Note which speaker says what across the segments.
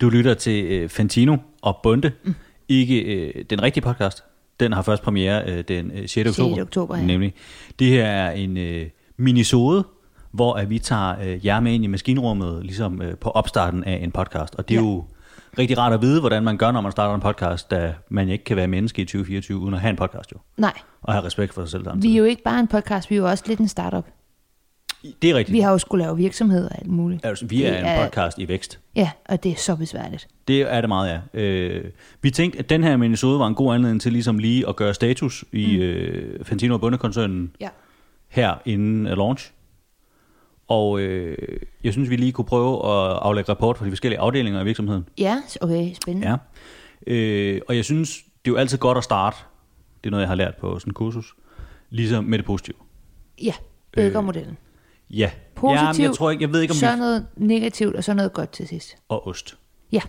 Speaker 1: Du lytter til øh, Fantino og Bunde, mm. ikke øh, den rigtige podcast. Den har først premiere øh, den øh, 6. 6. oktober.
Speaker 2: oktober, ja.
Speaker 1: Nemlig. Det her er en øh, minisode, hvor at vi tager øh, jer med ind i maskinrummet, ligesom øh, på opstarten af en podcast. Og det er
Speaker 2: Ja.
Speaker 1: ja. jo rigtig rart at vide, hvordan man gør, når man starter en podcast, da man ikke kan være menneske i 2024, uden at have en podcast jo.
Speaker 2: Nej,
Speaker 1: Og have respekt for sig selv samtidig.
Speaker 2: vi er jo ikke bare en podcast, vi er jo også lidt en startup.
Speaker 1: Det er rigtigt.
Speaker 2: Vi har jo skulle lave virksomhed og alt muligt.
Speaker 1: altså, vi
Speaker 2: Det
Speaker 1: er en podcast i vækst.
Speaker 2: Ja, og det er så besværligt.
Speaker 1: Det er det meget, ja. Øh, vi tænkte, at den her minisode var en god anledning til ligesom lige at gøre status i mm. øh, Fantino og Bundekoncernen
Speaker 2: Ja.
Speaker 1: her inden øh, launch. Og øh, jeg synes, vi lige kunne prøve at aflægge rapport for de forskellige afdelinger i virksomheden.
Speaker 2: Ja, okay, spændende.
Speaker 1: Ja. Øh, og jeg synes, det er jo altid godt at starte. Det er noget, jeg har lært på sådan en kursus. Ligesom med det positive.
Speaker 2: ja bækkermodellen.
Speaker 1: Øh, Ja.
Speaker 2: Positivt,
Speaker 1: Jamen, jeg, tror ikke, jeg ved ikke, om
Speaker 2: så
Speaker 1: vi...
Speaker 2: noget negativt, og så noget godt til sidst.
Speaker 1: Og ost.
Speaker 2: Ja,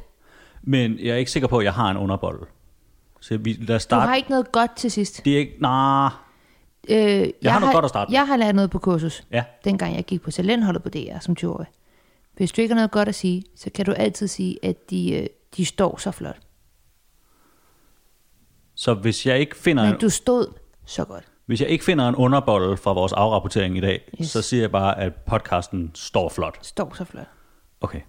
Speaker 1: Men jeg er ikke sikker på, at jeg har en underbold. Så vi, lad os
Speaker 2: du
Speaker 1: starte.
Speaker 2: har ikke noget godt til sidst.
Speaker 1: Det er ikke... Nej.
Speaker 2: Øh, jeg,
Speaker 1: har noget godt at starte med.
Speaker 2: Jeg har lært noget på kursus,
Speaker 1: Ja.
Speaker 2: dengang jeg gik på talentholdet på DR som 20-årig. Hvis du ikke har noget godt at sige, så kan du altid sige, at de, øh, de står så flot.
Speaker 1: Så hvis jeg ikke finder,
Speaker 2: Men
Speaker 1: en,
Speaker 2: du stod så godt.
Speaker 1: hvis jeg ikke finder en underbold fra vores afrapportering i dag,
Speaker 2: Yes.
Speaker 1: yes. så siger jeg bare, at podcasten står flot.
Speaker 2: Står så flot.
Speaker 1: Okay.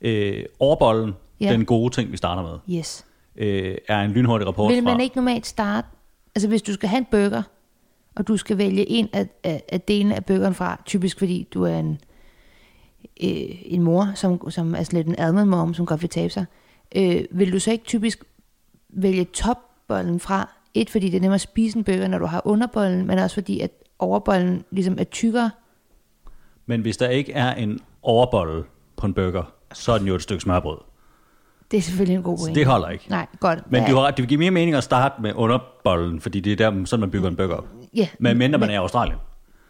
Speaker 1: Øh, overbolden,
Speaker 2: Ja.
Speaker 1: ja. den gode ting, vi starter med,
Speaker 2: Yes.
Speaker 1: øh, er en lynhurtig rapport
Speaker 2: Vil man
Speaker 1: fra...
Speaker 2: ikke normalt starte... Altså hvis du skal have en burger, og du skal vælge en af, af, af delene af burgeren fra, typisk fordi du er en, øh, en mor, som, som er sådan lidt en admin mom, som godt vil tabe sig, øh, vil du så ikke typisk vælge topbollen fra? Et, fordi det er nemmere at spise en burger, når du har underbollen, men også fordi, at overbollen ligesom er tykkere.
Speaker 1: Men hvis der ikke er en overbold på en burger, så er den jo et stykke smørbrød.
Speaker 2: Det er selvfølgelig en god
Speaker 1: Så
Speaker 2: pointe.
Speaker 1: det holder ikke.
Speaker 2: Nej, godt.
Speaker 1: Men
Speaker 2: Ja,
Speaker 1: du har ret, det giver mere mening at starte med underbollen, fordi det er der, sådan man bygger en burger op.
Speaker 2: Ja,
Speaker 1: Men mindre man
Speaker 2: men-
Speaker 1: er i Australien,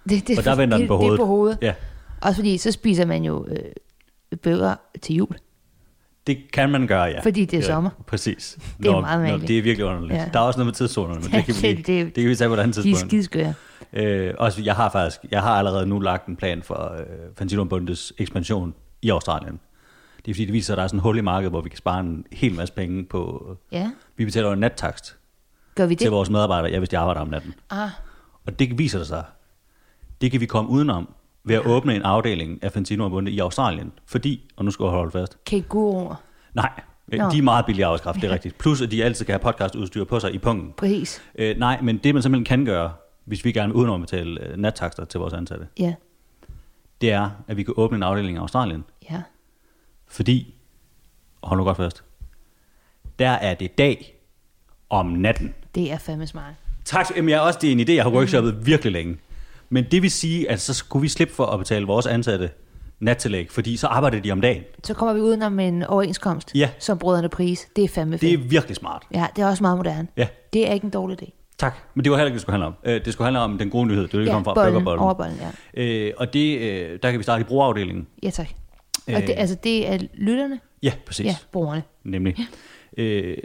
Speaker 2: det, det,
Speaker 1: og der vender
Speaker 2: det,
Speaker 1: den på
Speaker 2: det er
Speaker 1: hovedet.
Speaker 2: på hovedet.
Speaker 1: Ja,
Speaker 2: Også fordi, så spiser man jo øh, bøger til jul.
Speaker 1: det kan man gøre, ja.
Speaker 2: Fordi det er sommer.
Speaker 1: Præcis.
Speaker 2: Det er meget mærkeligt.
Speaker 1: det er virkelig underligt.
Speaker 2: Ja.
Speaker 1: Ja. Der er også noget med tidszonerne, men det kan vi,
Speaker 2: Det-
Speaker 1: det,
Speaker 2: det-
Speaker 1: det, det kan vi tage på et andet
Speaker 2: De er
Speaker 1: tidspunkt.
Speaker 2: skideskøre.
Speaker 1: Øh, også, jeg har faktisk, jeg har allerede nu lagt en plan for øh, Fantino Bundes ekspansion i Australien. Det er fordi, det viser sig, at der er sådan et hul i markedet, hvor vi kan spare en hel masse penge på...
Speaker 2: Ja.
Speaker 1: Vi betaler jo en nattakst
Speaker 2: Gør vi
Speaker 1: til
Speaker 2: det?
Speaker 1: vores medarbejdere, ja, hvis de arbejder om natten.
Speaker 2: Ah,
Speaker 1: Og det viser det sig, det kan vi komme udenom ved at åbne en afdeling af Fantino Bunde i Australien. Fordi, og nu skal jeg holde fast,
Speaker 2: kænguruer.
Speaker 1: nej, øh,
Speaker 2: Nå.
Speaker 1: de er meget billige arbejdskraft, det er rigtigt. Plus, at de altid kan have podcastudstyr på sig i pungen.
Speaker 2: Præcis.
Speaker 1: Øh, nej, men det man simpelthen kan gøre, hvis vi gerne vil udenom at betale øh, nattakster til vores ansatte,
Speaker 2: Ja.
Speaker 1: det er, at vi kan åbne en afdeling i Australien.
Speaker 2: Ja.
Speaker 1: Fordi, og hold nu godt fast, der er det dag om natten.
Speaker 2: Det er fandme smart.
Speaker 1: Tak, jamen jeg er også, det er en idé, jeg har
Speaker 2: Mm.
Speaker 1: workshoppet virkelig længe. Men det vil sige, at så skulle vi slippe for at betale vores ansatte nattillæg, fordi så arbejder de om dagen.
Speaker 2: Så kommer vi udenom en overenskomst,
Speaker 1: Ja.
Speaker 2: som brødrene pris. Det er fandme
Speaker 1: Det
Speaker 2: fedt.
Speaker 1: er virkelig smart.
Speaker 2: Ja, det er også meget moderne.
Speaker 1: Ja.
Speaker 2: Det er ikke en dårlig idé.
Speaker 1: Tak. Men det var heller ikke, det skulle handle om. Øh, Det skulle handle om den gode nyhed. Det var det,
Speaker 2: Ja,
Speaker 1: ja, kom fra.
Speaker 2: bolden,
Speaker 1: burgerbollen.
Speaker 2: overbollen, ja.
Speaker 1: Øh, og det, øh, der kan vi starte i brugerafdelingen.
Speaker 2: Ja, tak. Og
Speaker 1: Øh.
Speaker 2: det, altså, det er lytterne,
Speaker 1: Ja, præcis.
Speaker 2: ja, brugerne.
Speaker 1: Nemlig. Øh,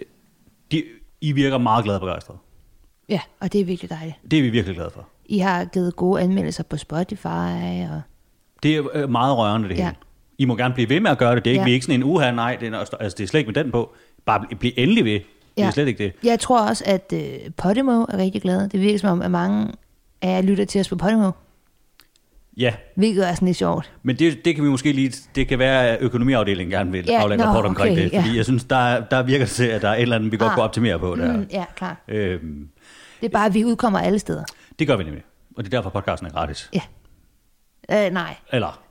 Speaker 1: de, I virker meget glade og begejstrede.
Speaker 2: Ja, og det er virkelig dejligt.
Speaker 1: Det er vi virkelig glade for.
Speaker 2: I har givet gode anmeldelser på Spotify, og
Speaker 1: Det er øh, meget rørende, det
Speaker 2: Ja.
Speaker 1: ja. hele. I må gerne blive ved med at gøre det. Det er ikke,
Speaker 2: Ja.
Speaker 1: ja. vi er ikke sådan en uha, nej, det er, altså, det er slet ikke med den på. Bare bl- bliv endelig ved. Det er slet ikke det.
Speaker 2: Jeg tror også, at øh, Podimo er rigtig glade. Det virker som om, at mange af jer lytter til os på Podimo,
Speaker 1: Ja,
Speaker 2: hvilket er sådan lidt sjovt.
Speaker 1: men det, det kan vi måske lige, det kan være, at økonomiafdelingen gerne vil
Speaker 2: Ja,
Speaker 1: ja, aflægge
Speaker 2: nå,
Speaker 1: rapport omkring
Speaker 2: okay,
Speaker 1: okay, det, fordi
Speaker 2: ja.
Speaker 1: ja. jeg synes, der, der virker det til, at der er et eller andet, vi godt
Speaker 2: Ah.
Speaker 1: ah. kunne optimere på der.
Speaker 2: Mm, ja, klart.
Speaker 1: Øhm,
Speaker 2: Det er bare, at vi udkommer alle steder.
Speaker 1: det gør vi nemlig, og det er derfor, podcasten er gratis.
Speaker 2: Ja. Øh, nej.
Speaker 1: Eller,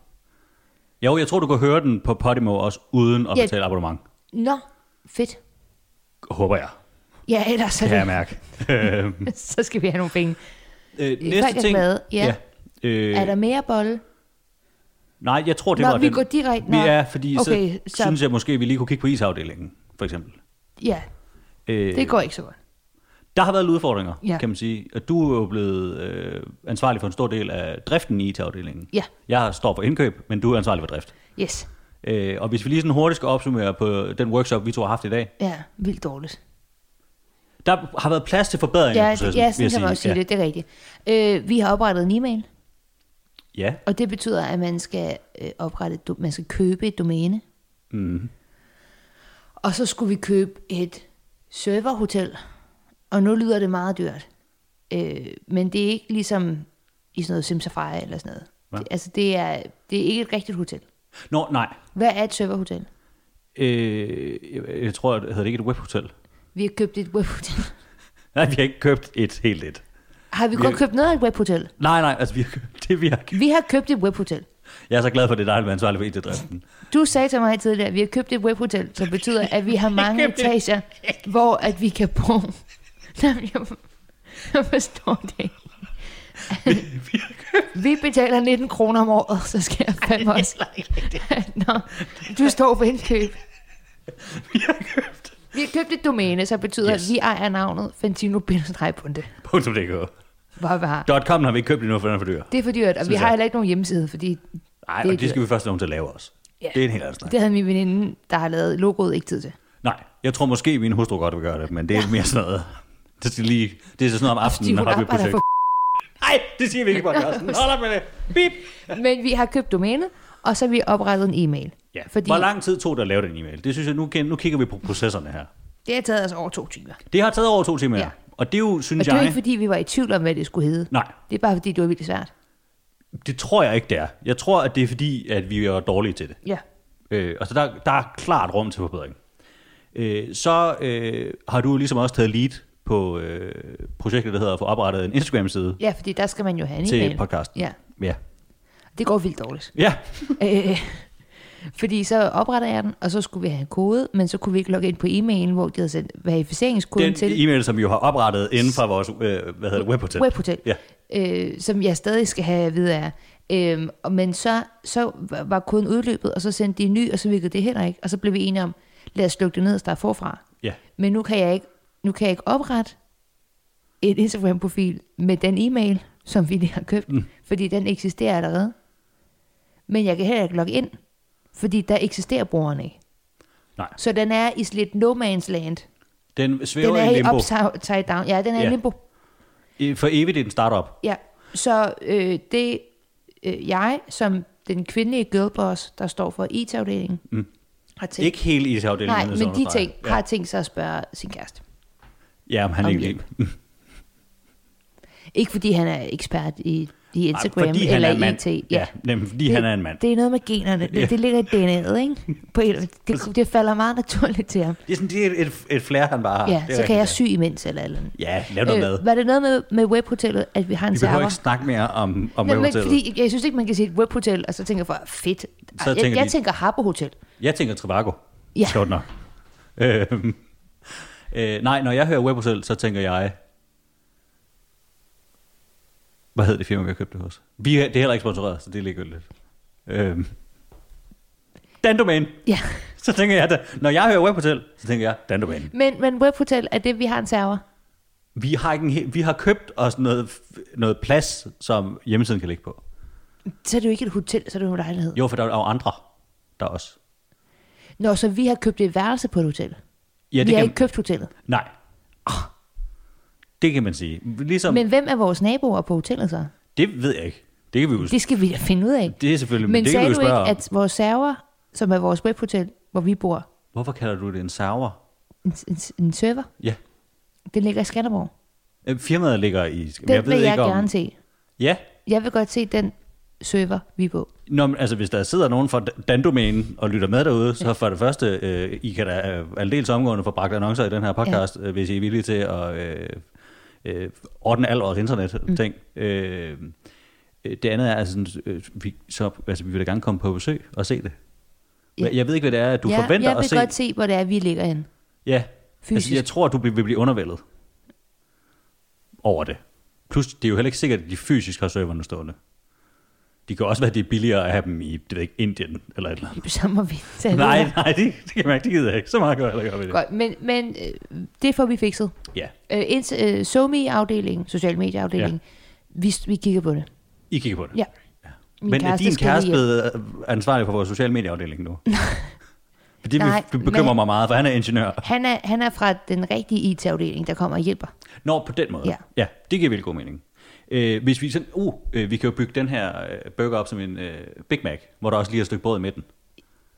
Speaker 1: jo, jeg tror, du kan høre den på Podimo også, uden at
Speaker 2: Ja.
Speaker 1: betale abonnement.
Speaker 2: Nå, fedt.
Speaker 1: Håber jeg,
Speaker 2: Ja, ellers så,
Speaker 1: kan jeg mærke. Øhm,
Speaker 2: så skal vi have nogle penge.
Speaker 1: øh,
Speaker 2: Folk Øh, er
Speaker 1: næste ting.
Speaker 2: glade, ja.
Speaker 1: Øh,
Speaker 2: Øh. Er der mere bolle?
Speaker 1: Nej, jeg tror, det
Speaker 2: Nå,
Speaker 1: var
Speaker 2: vi
Speaker 1: den.
Speaker 2: går direkte-
Speaker 1: Vi
Speaker 2: Nå.
Speaker 1: er, fordi
Speaker 2: Okay,
Speaker 1: okay,
Speaker 2: så-
Speaker 1: så, synes jeg måske, vi lige kunne kigge på isafdelingen, for eksempel.
Speaker 2: Ja,
Speaker 1: Øh,
Speaker 2: det går ikke så godt.
Speaker 1: der har været lidt udfordringer,
Speaker 2: Ja.
Speaker 1: ja. kan man sige. Og du er jo blevet øh, ansvarlig for en stor del af driften i IT-afdelingen.
Speaker 2: Ja.
Speaker 1: Jeg står for indkøb, men du er ansvarlig for drift.
Speaker 2: Yes.
Speaker 1: Øh, og hvis vi lige sådan hurtigt skal opsummere på den workshop, vi to har haft i dag.
Speaker 2: Ja, vildt dårligt.
Speaker 1: Der har været plads til forbedring i
Speaker 2: Ja, det,
Speaker 1: processen,
Speaker 2: ja sådan
Speaker 1: vil
Speaker 2: kan man
Speaker 1: jeg
Speaker 2: også sige
Speaker 1: ja.
Speaker 2: det. Det er rigtigt. Øh, vi har oprettet en e-mail,
Speaker 1: Ja,
Speaker 2: og det betyder, at man skal øh, oprette, et do- man skal købe et domæne.
Speaker 1: mm.
Speaker 2: Og så skulle vi købe et serverhotel, og nu lyder det meget dyrt. Øh, men det er ikke ligesom i sådan noget Simsafari eller sådan noget.
Speaker 1: Hvad?
Speaker 2: Det, altså, det er, det er ikke et rigtigt hotel.
Speaker 1: Nå, nej.
Speaker 2: Hvad er et serverhotel?
Speaker 1: Øh, jeg, jeg tror, det hedder det ikke et webhotel.
Speaker 2: Vi har købt et webhotel.
Speaker 1: Nej, vi har ikke købt et helt et.
Speaker 2: Har vi
Speaker 1: Vi
Speaker 2: kun
Speaker 1: har-
Speaker 2: købt noget af et webhotel?
Speaker 1: Nej, nej, altså vi har købt det, vi har købt.
Speaker 2: Vi har købt et webhotel.
Speaker 1: Jeg er så glad for, at det er dig, der er ansvarlig for E IT-driften.
Speaker 2: Du sagde til mig her tidligere, at vi har købt et webhotel, som betyder, at vi har mange etager, hvor at vi kan bo. Jamen, jeg, jeg forstår det ikke. Vi betaler 19 kroner om året, så skal jeg fandme også. Nå, du står for indkøb.
Speaker 1: Vi har købt
Speaker 2: Vi har købt et domæne, så betyder, yes.
Speaker 1: Yes.
Speaker 2: at vi ejer navnet fantino-bunde.
Speaker 1: .dk.
Speaker 2: Hvor var
Speaker 1: Dot .com har vi ikke købt endnu, for den er for dyr.
Speaker 2: det er for dyrt, og vi
Speaker 1: Synes
Speaker 2: har
Speaker 1: jeg.
Speaker 2: heller ikke nogen hjemmeside, fordi
Speaker 1: Nej,
Speaker 2: Det er
Speaker 1: og det skal vi først have nogen til at lave også.
Speaker 2: Ja.
Speaker 1: Det er en helt anden snak.
Speaker 2: det havde min veninde, der har lavet logoet, ikke tid til.
Speaker 1: Nej, jeg tror måske, min hustru godt vil gøre det, men det er mere sådan noget. Det, skal lige, det er sådan noget om
Speaker 2: Fordi
Speaker 1: aftenen, når
Speaker 2: hun
Speaker 1: vi er
Speaker 2: arbejder
Speaker 1: projekt.
Speaker 2: for
Speaker 1: Nej, det siger vi ikke på podcasten. Hold op med det. Bip.
Speaker 2: Men vi har købt domænet, og så har vi oprettet en e-mail.
Speaker 1: Ja,
Speaker 2: Fordi
Speaker 1: Hvor lang tid tog det at lave den e-mail? Det synes jeg, nu, gen- nu kigger vi på processerne her.
Speaker 2: det har taget os over to timer. Og
Speaker 1: Det har taget over to timer.
Speaker 2: Ja.
Speaker 1: Ja. Og det er jo, synes
Speaker 2: det er jo
Speaker 1: jeg...
Speaker 2: ikke, fordi vi var i tvivl om, hvad det skulle hedde.
Speaker 1: Nej,
Speaker 2: Det er bare, fordi det var vildt svært.
Speaker 1: det tror jeg ikke, det er. Jeg tror, at det er fordi, at vi er dårlige til det.
Speaker 2: Ja.
Speaker 1: Øh, altså, der, der er klart rum til forbedring. Øh, så øh, har du ligesom også taget lead på øh, projektet, der hedder at få oprettet en Instagram-side
Speaker 2: ja, fordi der skal man jo have en e-mail.
Speaker 1: til podcasten.
Speaker 2: Ja,
Speaker 1: Ja.
Speaker 2: det går vildt dårligt.
Speaker 1: ja.
Speaker 2: Øh, fordi så opretter jeg den, og så skulle vi have en kode, men så kunne vi ikke logge ind på e-mailen, hvor de havde sendt verificeringskoden
Speaker 1: Den
Speaker 2: til
Speaker 1: e-mail, som vi jo har oprettet inden for vores øh, hvad hedder det, webhotel.
Speaker 2: webhotel,
Speaker 1: Ja.
Speaker 2: øh, som jeg stadig skal have at vide af. Øh, og- men så, så var- var koden udløbet, og så sendte de en ny, og så virkede det heller ikke. Og så blev vi enige om, lad os lukke det ned og starte forfra.
Speaker 1: ja.
Speaker 2: Men nu kan jeg ikke, nu kan jeg ikke oprette et Instagram-profil med den e-mail, som vi lige har købt, mm. fordi den eksisterer allerede. Men jeg kan heller ikke logge ind, fordi der eksisterer brugerne ikke.
Speaker 1: Nej.
Speaker 2: Så den er i slet no man's land.
Speaker 1: Den svæver
Speaker 2: Den er
Speaker 1: i
Speaker 2: i
Speaker 1: limbo.
Speaker 2: upside down. Ja, den er i
Speaker 1: Ja.
Speaker 2: limbo.
Speaker 1: I- For evigt er den startup.
Speaker 2: Ja. Så øh, det øh, jeg, som den kvindelige girlboss, der står for IT-afdelingen, mm. har tænkt,
Speaker 1: Ikke hele IT-afdelingen.
Speaker 2: nej,
Speaker 1: vil jeg
Speaker 2: men
Speaker 1: så
Speaker 2: de
Speaker 1: understrege.
Speaker 2: ting ja. har tænkt sig at spørge sin kæreste.
Speaker 1: Ja, ja men han er
Speaker 2: Om
Speaker 1: ikke
Speaker 2: Ikke fordi han er ekspert i, i
Speaker 1: Nej,
Speaker 2: Instagram
Speaker 1: fordi han
Speaker 2: eller
Speaker 1: er en mand.
Speaker 2: IT. Ja.
Speaker 1: ja nemlig, fordi det, han er en mand. Det,
Speaker 2: Det er noget med generne. Det,
Speaker 1: Ja.
Speaker 2: det ligger i DNA'et, ikke? På et, det, det falder meget naturligt til ham.
Speaker 1: det er sådan det er et, et flair, han bare har.
Speaker 2: Ja,
Speaker 1: Ah, det er
Speaker 2: så kan jeg
Speaker 1: rigtigt,
Speaker 2: sy imens eller eller andet. Øh,
Speaker 1: Ja, lav noget mad.
Speaker 2: var det noget med, med webhotellet, at vi har en
Speaker 1: Vi behøver
Speaker 2: server?
Speaker 1: ikke snakke mere om, om
Speaker 2: Nå, men
Speaker 1: webhotellet.
Speaker 2: fordi jeg synes ikke, man kan sige et webhotel, og så tænker jeg for, fedt.
Speaker 1: Så
Speaker 2: jeg,
Speaker 1: tænker
Speaker 2: jeg
Speaker 1: de-
Speaker 2: tænker Harbohotel.
Speaker 1: Jeg tænker Trivago.
Speaker 2: Ja.
Speaker 1: Sjovt nok. Øhm, øh, nej, når jeg hører webhotel, så tænker jeg... Hvad hedder det firma, vi har købt det hos? Vi, er- det er heller ikke sponsoreret, så det er ligegyldigt. Øhm, Dandomain.
Speaker 2: Ja.
Speaker 1: Så tænker jeg, da, når jeg hører webhotel, så tænker jeg Dandomain.
Speaker 2: Men, men webhotel er det, vi har en server.
Speaker 1: Vi har, ikke en, hel- vi har købt os noget, noget plads, som hjemmesiden kan ligge på.
Speaker 2: Så er det jo ikke et hotel, så er det jo en lejlighed. Jo.
Speaker 1: Jo, for der er jo andre, der også.
Speaker 2: Nå, så vi har købt et værelse på et hotel.
Speaker 1: Ja,
Speaker 2: vi har ikke købt hotellet.
Speaker 1: Nej. Det kan man sige. Ligesom,
Speaker 2: Men hvem er vores naboer på hotellet så?
Speaker 1: Det ved jeg ikke. Det kan vi jo... Det,
Speaker 2: Det skal vi da finde ud af.
Speaker 1: det er selvfølgelig...
Speaker 2: Men
Speaker 1: Men det kan
Speaker 2: sagde
Speaker 1: vi jo
Speaker 2: du ikke,
Speaker 1: spørge ikke, at...
Speaker 2: at vores server, som er vores webhotel, hvor vi bor,
Speaker 1: Hvorfor kalder du det en server?
Speaker 2: en, en, en server,
Speaker 1: Ja.
Speaker 2: den ligger i Skanderborg.
Speaker 1: Øh, Firmaet ligger i... men
Speaker 2: Den jeg vil jeg
Speaker 1: om...
Speaker 2: gerne se.
Speaker 1: Ja.
Speaker 2: Jeg vil godt se den server, vi er på.
Speaker 1: Nå, men, altså, hvis der sidder nogen fra Dan- Dandomænen og lytter med derude, så for det første, øh, I kan da øh, aldeles omgående få bragt annoncer i den her podcast, ja. hvis I er villige til at øh, øh, ordne al vores internet-ting. Mm. Øh, øh, det andet er, altså, sådan, øh, vi, så, altså, vi vil da gerne komme på besøg og se det.
Speaker 2: Ja.
Speaker 1: Ja. Jeg ved ikke, hvad det er, at du
Speaker 2: ja,
Speaker 1: forventer
Speaker 2: jeg vil
Speaker 1: at se.
Speaker 2: godt se, hvor det er, vi ligger henne.
Speaker 1: Ja,
Speaker 2: Fysisk.
Speaker 1: altså jeg tror, du vil vil blive undervældet over det. Plus, det er jo heller ikke sikkert, at de fysisk har serverne stående. De kan også være, at det er billigere at have dem i, det ved jeg ikke, Indien eller et eller andet.
Speaker 2: Så må vi tage det
Speaker 1: Nej,
Speaker 2: her.
Speaker 1: nej, det, det kan man ikke, det gider jeg ikke. Så meget gør jeg heller ikke op i det.
Speaker 2: Godt, men, men øh, det får vi fikset.
Speaker 1: Ja,
Speaker 2: Øh, ins, øh, SoMe-afdelingen, social medieafdelingen, ja. vi, vi kigger på det.
Speaker 1: I kigger på det.
Speaker 2: Ja. Min
Speaker 1: Men er din
Speaker 2: skal
Speaker 1: kæreste
Speaker 2: lige-
Speaker 1: blevet øh, ansvarlig for vores sociale medieafdeling nu? For det
Speaker 2: Nej,
Speaker 1: vil- det bekymrer
Speaker 2: men-
Speaker 1: mig meget, for han er ingeniør.
Speaker 2: Han er, han er fra den rigtige IT-afdeling, der kommer og hjælper.
Speaker 1: Nå, på den måde.
Speaker 2: Ja.
Speaker 1: ja det giver virkelig god mening. Øh, hvis vi sådan, uh, øh, vi kan jo bygge den her øh, burger op som en øh, Big Mac, hvor der også lige er et stykke brød i midten.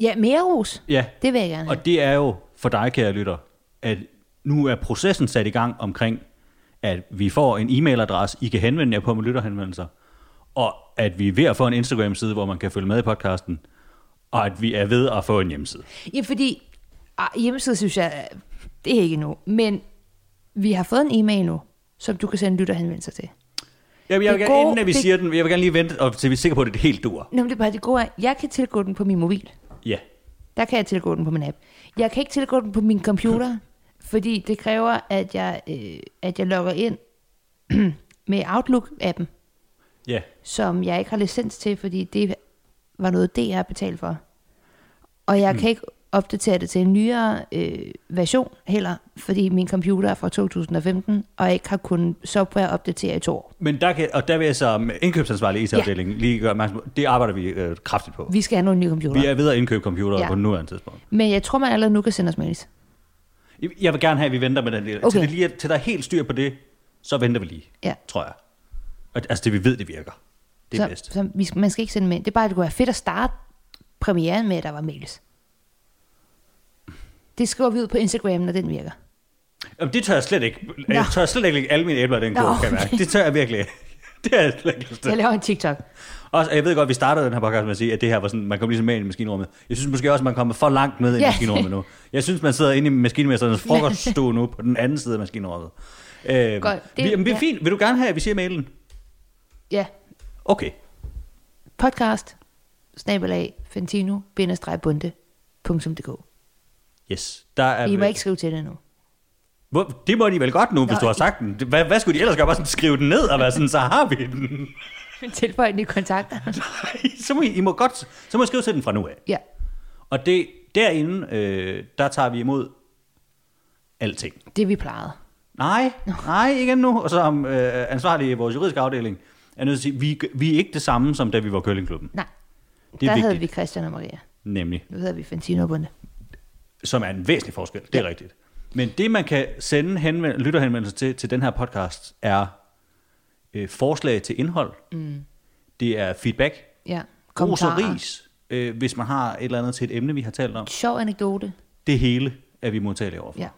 Speaker 2: Ja, mere ros.
Speaker 1: Ja,
Speaker 2: Det vil jeg gerne have.
Speaker 1: Og det er jo for dig, kære lytter, at nu er processen sat i gang omkring, at vi får en e-mailadresse, I kan henvende jer på med lytterhenvendelser, og at vi er ved at få en Instagram-side, hvor man kan følge med i podcasten, og at vi er ved at få en hjemmeside.
Speaker 2: Ja, fordi ah, hjemmeside synes jeg, det er ikke nu. Men vi har fået en e-mail nu, som du kan sende lytterhenvendelser til.
Speaker 1: Jeg, jeg vil
Speaker 2: Det
Speaker 1: gerne,
Speaker 2: gode-
Speaker 1: inden at vi
Speaker 2: det-
Speaker 1: siger den, jeg vil gerne lige vente, og til vi er sikre på, at det helt dur.
Speaker 2: Nå, men det er bare det gode er, jeg kan tilgå den på min mobil.
Speaker 1: Ja.
Speaker 2: Der kan jeg tilgå den på min app. Jeg kan ikke tilgå den på min computer, fordi det kræver, at jeg, øh, at jeg logger ind med Outlook-appen,
Speaker 1: Ja.
Speaker 2: som jeg ikke har licens til, fordi det var noget, DR betalte for. Og
Speaker 1: Mm.
Speaker 2: jeg kan ikke opdatere det til en nyere øh, version heller, fordi min computer er fra 2015, og jeg ikke har kunnet software opdatere i to år.
Speaker 1: Men der kan, og der vil jeg som indkøbsansvarlig i IT-afdelingen ja. lige gøre opmærksom på, det arbejder vi øh, kraftigt på.
Speaker 2: Vi skal have nogle nye computer.
Speaker 1: Vi er ved at indkøbe computere ja.
Speaker 2: Ja.
Speaker 1: på nuværende tidspunkt.
Speaker 2: Men jeg tror, man allerede nu kan sende os mails.
Speaker 1: Jeg vil gerne have, at vi venter med den del. Okay. Til,
Speaker 2: Okay.
Speaker 1: det lige, er- til der er helt styr på det, så venter vi lige,
Speaker 2: Ja.
Speaker 1: tror jeg. Og, altså det, vi ved, det virker. Det er
Speaker 2: så,
Speaker 1: bedst.
Speaker 2: Så vi, skal- man skal ikke sende mail. Det er bare, at det kunne være fedt at starte premieren med, at der var mails. Det skriver vi ud på Instagram, når den virker.
Speaker 1: Jamen, det tør jeg slet ikke. Jeg
Speaker 2: Nå.
Speaker 1: tør slet ikke lægge alle mine æbler i den
Speaker 2: Nå,
Speaker 1: kurv, kan jeg mærke.
Speaker 2: okay.
Speaker 1: Det tør jeg virkelig ikke. Det har jeg slet ikke lyst til.
Speaker 2: Jeg laver en TikTok.
Speaker 1: Også, og jeg ved godt, at vi startede den her podcast med at sige, at det her var sådan, man kom ligesom med ind i maskinrummet. Jeg synes måske også, at man kommer for langt med ind i
Speaker 2: Ja.
Speaker 1: maskinrummet nu. Jeg synes, man sidder inde i maskinmesterens frokoststue nu på den anden side af maskinrummet. Øh, det, vi, jamen, det er
Speaker 2: ja.
Speaker 1: fint. Vil du gerne have, at vi siger mailen?
Speaker 2: Ja,
Speaker 1: Okay.
Speaker 2: podcast, snabelag, fentino-bunde.dk.
Speaker 1: Yes. Der er,
Speaker 2: I må ikke skrive til det nu.
Speaker 1: Hvor, det må de vel godt nu, hvis
Speaker 2: Nå,
Speaker 1: du har sagt den. Hvad, hvad skulle de ellers gøre? Bare sådan skrive den ned og være sådan, så har vi den.
Speaker 2: Tilføj den i kontakter.
Speaker 1: så må I, I må godt, så må I skrive til den fra nu af.
Speaker 2: Ja,
Speaker 1: Og det, derinde, øh, der tager vi imod alting.
Speaker 2: det vi plejede.
Speaker 1: Nej, nej, ikke endnu. Og som øh, ansvarlig i vores juridiske afdeling, er nødt til at sige, vi, vi er ikke det samme, som da vi var køllingklubben.
Speaker 2: Nej,
Speaker 1: Det er
Speaker 2: der havde vi
Speaker 1: vigtigt.
Speaker 2: Christian og Maria.
Speaker 1: Nemlig,
Speaker 2: Nu hedder vi Fentino og Bunde.
Speaker 1: som er en væsentlig forskel, det er ja. rigtigt. Men det, man kan sende henvend- lytterhenvendelser til, til den her podcast, er øh, forslag til indhold. Mm. Det er feedback.
Speaker 2: Ja,
Speaker 1: Ros og
Speaker 2: kommentarer.
Speaker 1: ris, øh, hvis man har et eller andet til et emne, vi har talt om.
Speaker 2: Sjov anekdote.
Speaker 1: Det hele er vi modtagelige overfor.
Speaker 2: Ja.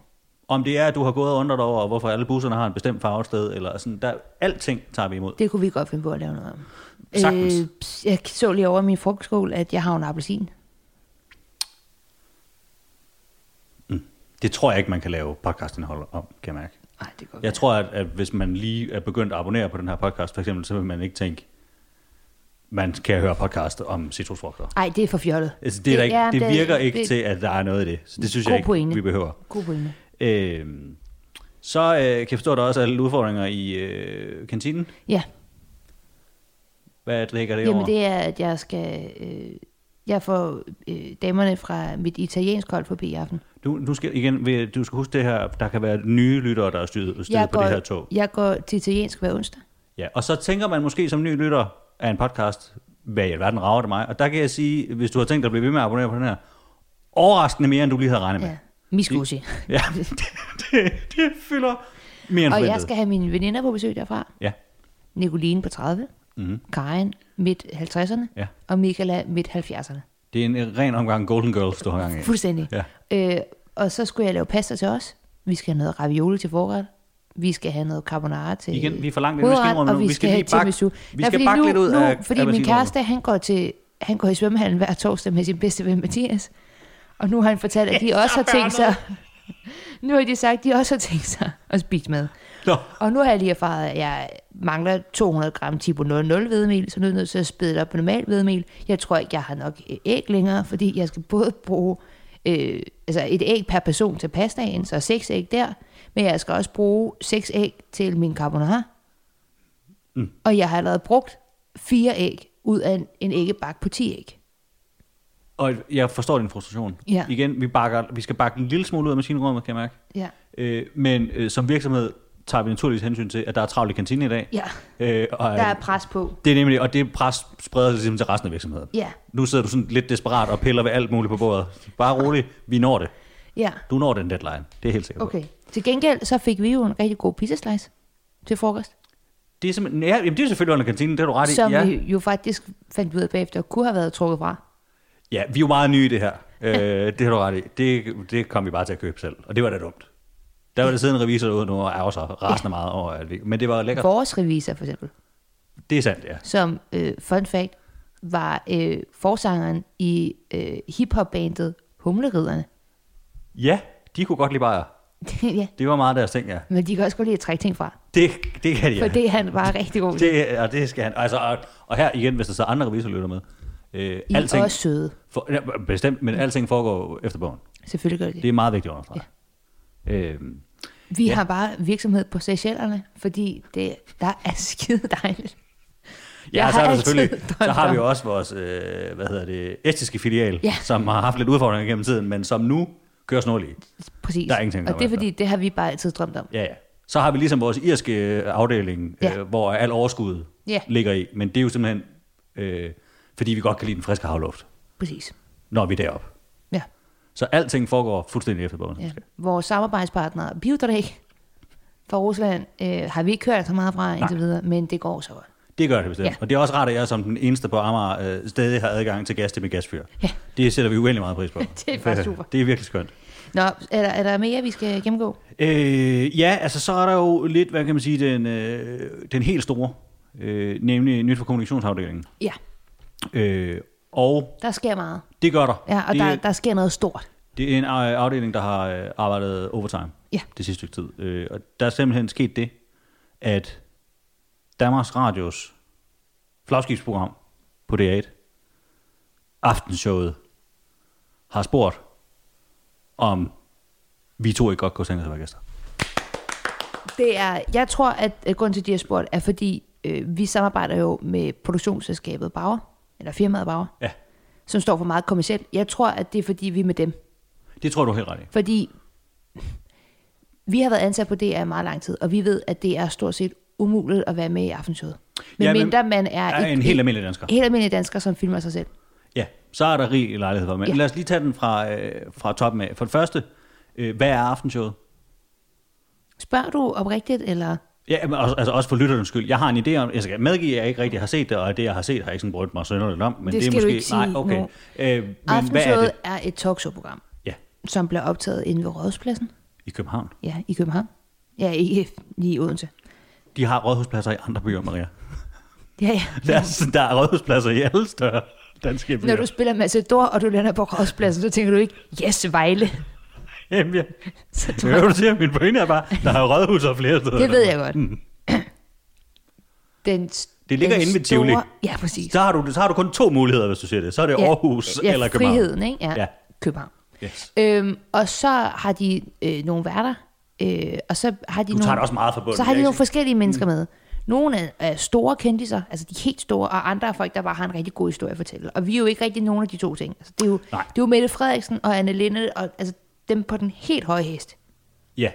Speaker 1: Om det er, at du har gået og undret over, hvorfor alle busserne har en bestemt farve et sted, eller sådan, der, alting tager vi imod.
Speaker 2: Det kunne vi godt finde på at lave noget om.
Speaker 1: Sagtens.
Speaker 2: Øh, jeg så lige over i min frugtskål, at jeg har en appelsin.
Speaker 1: Det tror jeg ikke, man kan lave podcastindhold om, kan jeg mærke.
Speaker 2: Nej, det går
Speaker 1: Jeg tror, at, at hvis man lige er begyndt at abonnere på den her podcast, for eksempel, så vil man ikke tænke, man kan høre podcast om citrusfrugter.
Speaker 2: Nej, det er for fjollet.
Speaker 1: Altså, det, er der ikke,
Speaker 2: er-
Speaker 1: det virker ikke
Speaker 2: det-
Speaker 1: til, at der er noget af det. Så det synes
Speaker 2: God
Speaker 1: jeg ikke,
Speaker 2: pointe.
Speaker 1: vi behøver.
Speaker 2: God pointe.
Speaker 1: Øhm, så øh, kan jeg forstå, at der også er lidt udfordringer i øh, kantinen.
Speaker 2: Ja,
Speaker 1: Hvad drikker det
Speaker 2: jamen
Speaker 1: over?
Speaker 2: det er, at jeg skal... Øh, jeg får øh, damerne fra mit italiensk hold forbi i aften.
Speaker 1: Du, du, skal, igen, vil- du skal huske det her, der kan være nye lyttere, der er styret, styret
Speaker 2: Jeg
Speaker 1: på
Speaker 2: går,
Speaker 1: det her tog.
Speaker 2: jeg går til italiensk hver onsdag.
Speaker 1: Ja, og så tænker man måske som ny lytter af en podcast, hvad i alverden rager det mig? Og der kan jeg sige, hvis du har tænkt dig at blive ved med at abonnere på den her, overraskende mere, end du lige havde regnet med.
Speaker 2: Ja.
Speaker 1: Ja,
Speaker 2: Miskusi.
Speaker 1: ja det, det, det fylder mere end
Speaker 2: Og jeg
Speaker 1: forventet.
Speaker 2: skal have mine veninder på besøg derfra.
Speaker 1: Ja,
Speaker 2: Nicoline på 30, mm. Karen midt 50'erne,
Speaker 1: Mhm. Ja.
Speaker 2: og Michaela midt 70'erne.
Speaker 1: det er en ren omgang Golden Girls, du har gang i.
Speaker 2: Fuldstændig.
Speaker 1: Ja.
Speaker 2: Øh, og så skulle jeg lave pasta til os. Vi skal have noget ravioli til forret. Vi skal have noget carbonara til
Speaker 1: Igen, vi er for langt inde i
Speaker 2: hovedret,
Speaker 1: maskinrummet
Speaker 2: og
Speaker 1: nu.
Speaker 2: vi
Speaker 1: Vi
Speaker 2: skal,
Speaker 1: skal
Speaker 2: have
Speaker 1: lige bakke-
Speaker 2: tiramisu.
Speaker 1: vi
Speaker 2: Nej,
Speaker 1: skal
Speaker 2: fordi
Speaker 1: bakke lidt
Speaker 2: nu,
Speaker 1: ud
Speaker 2: nu,
Speaker 1: af- af
Speaker 2: Fordi min
Speaker 1: maskinrummet.
Speaker 2: kæreste, han går, til, han går i svømmehallen hver torsdag med sin bedste ven Mathias. Og nu har han fortalt, at de også har tænkt sig... Nu har de sagt, at de også har tænkt sig at spise med.
Speaker 1: Nå,
Speaker 2: Og nu har jeg lige erfaret, at jeg mangler 200 gram tipo 00 hvedemel, så nu er jeg nødt til at spæde det op på normal hvedemel. Jeg tror ikke, jeg har nok øh, æg længere, fordi jeg skal både bruge øh, altså et æg per person til pastaen, så seks æg der, men jeg skal også bruge seks æg til min carbonara. Mm. Og jeg har allerede brugt fire æg ud af en, en æggebak på 10 æg.
Speaker 1: og jeg forstår din frustration.
Speaker 2: Ja.
Speaker 1: Igen, vi, bakker, vi skal bakke en lille smule ud af maskinrummet, kan jeg mærke.
Speaker 2: Ja.
Speaker 1: Øh, men øh, som virksomhed tager vi naturligvis hensyn til, at der er travlt i kantinen i dag.
Speaker 2: Ja.
Speaker 1: Øh, og,
Speaker 2: Der er pres på.
Speaker 1: Det er nemlig, og det pres spreder sig simpelthen til resten af virksomheden.
Speaker 2: Ja.
Speaker 1: Nu sidder du sådan lidt desperat og piller ved alt muligt på bordet. Bare rolig, vi når det.
Speaker 2: Ja,
Speaker 1: Du når den deadline, det er helt sikkert.
Speaker 2: okay. Til gengæld så fik vi jo en rigtig god pizzaslice til frokost.
Speaker 1: Det er simpelthen, ja, jamen, det er selvfølgelig under kantinen, det har du ret i.
Speaker 2: som
Speaker 1: ja.
Speaker 2: vi jo faktisk fandt ud af bagefter, kunne have været trukket fra.
Speaker 1: ja, vi er jo meget nye i det her. øh, det har du ret i. Det, det kom vi bare til at købe selv, og det var da dumt. Der var der siden en revisor derude nu og ærger sig rasende meget over alt det. Men det var lækkert.
Speaker 2: Vores revisor for eksempel,
Speaker 1: Det er sandt, ja.
Speaker 2: som, øh, fun fact, var øh, forsangeren i øh, hiphop-bandet Humleriderne.
Speaker 1: Ja, de kunne godt lide bajer.
Speaker 2: ja,
Speaker 1: Det var meget deres ting, ja.
Speaker 2: men de kan også godt lide at trække ting fra,
Speaker 1: Det, det kan de,
Speaker 2: for
Speaker 1: ja.
Speaker 2: det er han bare rigtig god til.
Speaker 1: det, og det skal han. Altså, og, og her igen, hvis der så andre revisorer lytter med. Øh,
Speaker 2: I er også søde.
Speaker 1: for, ja, bestemt, men alting foregår efter bogen.
Speaker 2: Selvfølgelig gør det
Speaker 1: Det
Speaker 2: det.
Speaker 1: er meget vigtigt at understrege. Øh,
Speaker 2: Vi har bare virksomhed på Seychellerne, fordi det, der er skide dejligt.
Speaker 1: Ja,
Speaker 2: Jeg
Speaker 1: så er
Speaker 2: har
Speaker 1: der
Speaker 2: altid
Speaker 1: selvfølgelig,
Speaker 2: drømt
Speaker 1: så har vi
Speaker 2: om-
Speaker 1: jo også vores, øh, hvad hedder det, estiske filial,
Speaker 2: Ja.
Speaker 1: ja. som har haft lidt udfordringer gennem tiden, men som nu kører snorlig.
Speaker 2: Præcis.
Speaker 1: Der er ingenting at
Speaker 2: Og det er
Speaker 1: komme
Speaker 2: fordi, det har vi bare altid drømt om.
Speaker 1: Ja, ja. Så har vi ligesom vores irske øh, afdeling,
Speaker 2: Ja.
Speaker 1: ja. øh, hvor al overskud
Speaker 2: Ja.
Speaker 1: ja. ligger i, men det er jo simpelthen, øh, fordi vi godt kan lide den friske havluft,
Speaker 2: Præcis.
Speaker 1: når vi er deroppe.
Speaker 2: Ja.
Speaker 1: Så alting foregår fuldstændig efter bogen.
Speaker 2: ja.
Speaker 1: Ja.
Speaker 2: Vores samarbejdspartner, Biodrag fra Rusland, øh, har vi ikke hørt så meget fra indtil videre, men det går så godt.
Speaker 1: Det gør det bestemt.
Speaker 2: Ja.
Speaker 1: Ja. Og det er også rart, at jeg som den eneste på Amager øh, stadig har adgang til gas til mit gasfyr.
Speaker 2: Ja.
Speaker 1: Det sætter vi uendelig meget pris på.
Speaker 2: Det er faktisk super.
Speaker 1: det er virkelig skønt.
Speaker 2: Nå, er der, er der mere, vi skal gennemgå?
Speaker 1: Øh, ja, altså så er der jo lidt, hvad kan man sige, den, øh, den helt store, øh, nemlig nyt for kommunikationsafdelingen.
Speaker 2: Ja,
Speaker 1: Øh, og
Speaker 2: der sker meget.
Speaker 1: det gør der.
Speaker 2: Ja, og
Speaker 1: det,
Speaker 2: der, der sker noget stort.
Speaker 1: det er en øh, afdeling, der har øh, arbejdet overtime
Speaker 2: Ja.
Speaker 1: det sidste stykke tid. Øh, og der er simpelthen sket det, at Danmarks Radios flagskibsprogram på DR1, aftenshowet, har spurgt, om vi to ikke godt kunne tænke os at være gæster.
Speaker 2: Det er, jeg tror, at øh, grunden til, at de har spurgt, er fordi øh, vi samarbejder jo med produktionsselskabet Bauer, eller firmaet Bauer,
Speaker 1: Ja,
Speaker 2: som står for meget kommercielt. Jeg tror, at det er, fordi vi er med dem.
Speaker 1: det tror jeg, du er helt ret i.
Speaker 2: Fordi vi har været ansat på DR i meget lang tid, og vi ved, at det er stort set umuligt at være med i aftenshowet. Men,
Speaker 1: Ja,
Speaker 2: ja, men
Speaker 1: men-
Speaker 2: mindre man er,
Speaker 1: Er en helt almindelig dansker.
Speaker 2: helt almindelig dansker, som filmer sig selv.
Speaker 1: Ja, så er der rig lejlighed for. Men
Speaker 2: Ja.
Speaker 1: ja. lad os lige tage den fra, øh, fra toppen af. For det første, øh, hvad er aftenshowet?
Speaker 2: Spørger du oprigtigt, eller...
Speaker 1: Ja, men også, altså også for lytterens skyld. Jeg har en idé om, jeg skal medgive, at jeg ikke rigtig har set det, og det, jeg har set, har jeg ikke sådan brugt mig sønderligt om. Men det,
Speaker 2: skal
Speaker 1: er
Speaker 2: du
Speaker 1: måske,
Speaker 2: ikke sige
Speaker 1: Nej, okay.
Speaker 2: nu.
Speaker 1: Øh, men hvad er
Speaker 2: Aftenshowet
Speaker 1: det?
Speaker 2: er, er et talkshow-program,
Speaker 1: Ja,
Speaker 2: som bliver optaget inde ved Rådhuspladsen.
Speaker 1: i København.
Speaker 2: Ja, i København. Ja, ikke lige i Odense.
Speaker 1: De har rådhuspladser i andre byer, Maria.
Speaker 2: Ja, ja.
Speaker 1: Der, er, der er rådhuspladser i alle større danske byer.
Speaker 2: Når du spiller Macedor, og du lander på Rådhuspladsen, så tænker du ikke, yes, Vejle.
Speaker 1: Jamen, jeg,
Speaker 2: Så tror
Speaker 1: jeg, du siger, min pointe er bare, der er rådhuser flere steder.
Speaker 2: Det ved jeg godt. Den,
Speaker 1: Mm. Det ligger
Speaker 2: den
Speaker 1: inde ved Tivoli.
Speaker 2: store- Ja, præcis.
Speaker 1: Så har, du, så har du kun to muligheder, hvis du siger det. Så er det
Speaker 2: ja,
Speaker 1: Aarhus
Speaker 2: ja,
Speaker 1: eller København.
Speaker 2: Friheden, ikke? Ja, ja.
Speaker 1: Ja.
Speaker 2: København.
Speaker 1: Yes.
Speaker 2: Øhm, og så har de øh, nogle værter, øh, og så har de
Speaker 1: Du
Speaker 2: nogle,
Speaker 1: tager det også meget fra bunden,
Speaker 2: Så har de
Speaker 1: ikke? Mm.
Speaker 2: nogle forskellige mennesker med. Nogle er, er store kendtiser, altså de er helt store, og andre er folk, der bare har en rigtig god historie at fortælle. Og vi er jo ikke rigtig nogen af de to ting. Altså, det, er jo, det
Speaker 1: Nej.
Speaker 2: er jo Mette Frederiksen og Anne Linde, og, altså dem på den helt høje hest.
Speaker 1: Ja.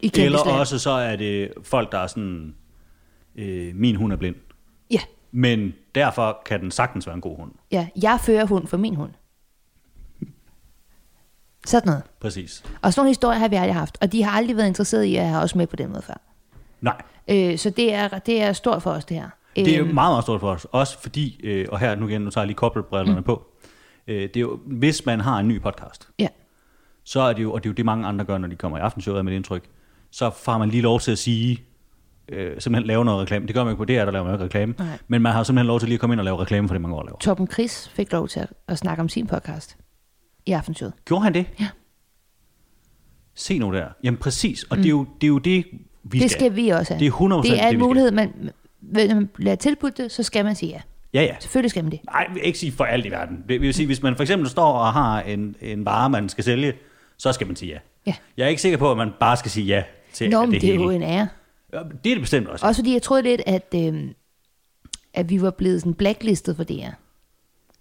Speaker 2: I
Speaker 1: Eller
Speaker 2: Kæmpesland.
Speaker 1: også så er det folk, der er sådan, øh, min hund er blind.
Speaker 2: Ja,
Speaker 1: Men derfor kan den sagtens være en god hund.
Speaker 2: ja. Jeg fører hund for min hund. Sådan noget.
Speaker 1: Præcis.
Speaker 2: Og sådan nogle historier har vi aldrig haft, og de har aldrig været interesseret i at have os med på den måde før.
Speaker 1: Nej,
Speaker 2: Øh, så det er, det er stort for os, det her.
Speaker 1: det er jo
Speaker 2: Øhm,
Speaker 1: meget, meget stort for os. Også fordi, øh, og her nu igen, nu tager jeg lige corporate-brillerne mm. på. Øh, det er jo, hvis man har en ny podcast,
Speaker 2: Ja,
Speaker 1: så er det jo, og det er jo det mange andre gør, når de kommer i aftenshowet, er mit indtryk, så får man lige lov til at sige, øh, simpelthen lave noget reklame. Det gør man jo ikke på DR, der laver man jo ikke reklame.
Speaker 2: Nej.
Speaker 1: Men man har jo simpelthen lov til lige at komme ind og lave reklame for det, man går og laver.
Speaker 2: Torben Chris fik lov til at, at snakke om sin podcast i aftenshowet.
Speaker 1: Gjorde han det?
Speaker 2: Ja.
Speaker 1: Se nu der. Jamen præcis, og mm. det, er jo, det er jo det, vi
Speaker 2: det skal vi også have.
Speaker 1: Det er 100%
Speaker 2: Det
Speaker 1: det,
Speaker 2: er en
Speaker 1: vi skal.
Speaker 2: mulighed, man, når man bliver tilbudt det, så skal man sige ja.
Speaker 1: Ja, ja.
Speaker 2: Selvfølgelig skal man det.
Speaker 1: Nej, jeg vil ikke sige for alt i verden. Vi vil sige, hvis man for eksempel står og har en, en vare, man skal sælge, så skal man sige ja.
Speaker 2: Ja.
Speaker 1: Jeg er ikke sikker på, at man bare skal sige ja til
Speaker 2: Nå,
Speaker 1: det,
Speaker 2: men det, er
Speaker 1: hele.
Speaker 2: jo en ære.
Speaker 1: Ja, Det er det bestemt også.
Speaker 2: Også fordi jeg troede lidt, at, øh, at vi var blevet sådan blacklistet for DR.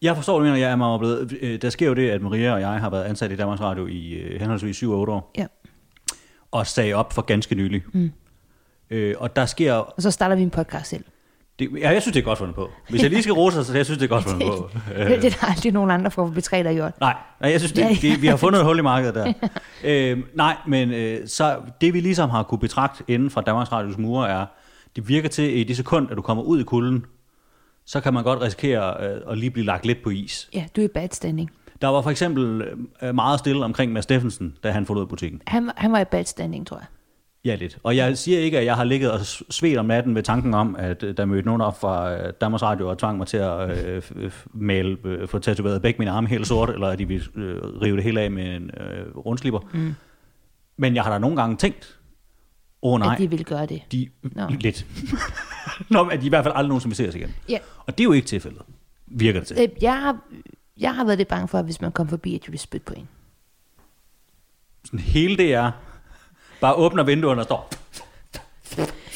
Speaker 1: Jeg forstår, hvad du mener, jeg er meget blevet. øh, Der sker jo det, at Maria og jeg har været ansat i Danmarks Radio i øh, henholdsvis 7 og 8 år,
Speaker 2: Ja.
Speaker 1: og sagde op for ganske nylig. Mm. Øh, og der sker...
Speaker 2: Og så starter vi en podcast selv.
Speaker 1: Det, ja, jeg synes, det er godt fundet på. Hvis jeg lige skal rose sig, så jeg synes, det er godt fundet på.
Speaker 2: det, det er der aldrig nogen andre for at betræde dig i år.
Speaker 1: Nej, nej jeg synes, det,
Speaker 2: Ja, ja.
Speaker 1: det, vi har fundet et hul i markedet der. øhm, nej, men øh, så det vi ligesom har kunne betragte inden for Danmarks Radios mure er, det virker til, at i det sekund, at du kommer ud i kulden, så kan man godt risikere øh, at lige blive lagt lidt på is.
Speaker 2: Ja, du er i bad standing.
Speaker 1: Der var for eksempel øh, meget stille omkring Mads Steffensen, da han forlod butikken.
Speaker 2: Han, han var i bad standing, tror jeg.
Speaker 1: Ja, lidt. Og jeg siger ikke, at jeg har ligget og svedt om natten ved tanken om, at øh, der mødte nogen op fra øh, Danmarks Radio og tvang mig til at øh, f- f- male, øh, få tatoveret begge mine arme helt sort, eller at de ville øh, rive det hele af med en øh, rundslipper. Mm. Men jeg har da nogle gange tænkt, åh oh, nej,
Speaker 2: At de ville gøre det.
Speaker 1: de
Speaker 2: Nå.
Speaker 1: lidt. Nå, men at de i hvert fald aldrig nogensinde vil se os igen.
Speaker 2: Ja.
Speaker 1: Og det er jo ikke tilfældet, virker det til.
Speaker 2: Øh, Jeg har, jeg har været lidt bange for, at hvis man kom forbi, at de ville spytte på en.
Speaker 1: Sådan hele det er, bare åbner vinduerne og står.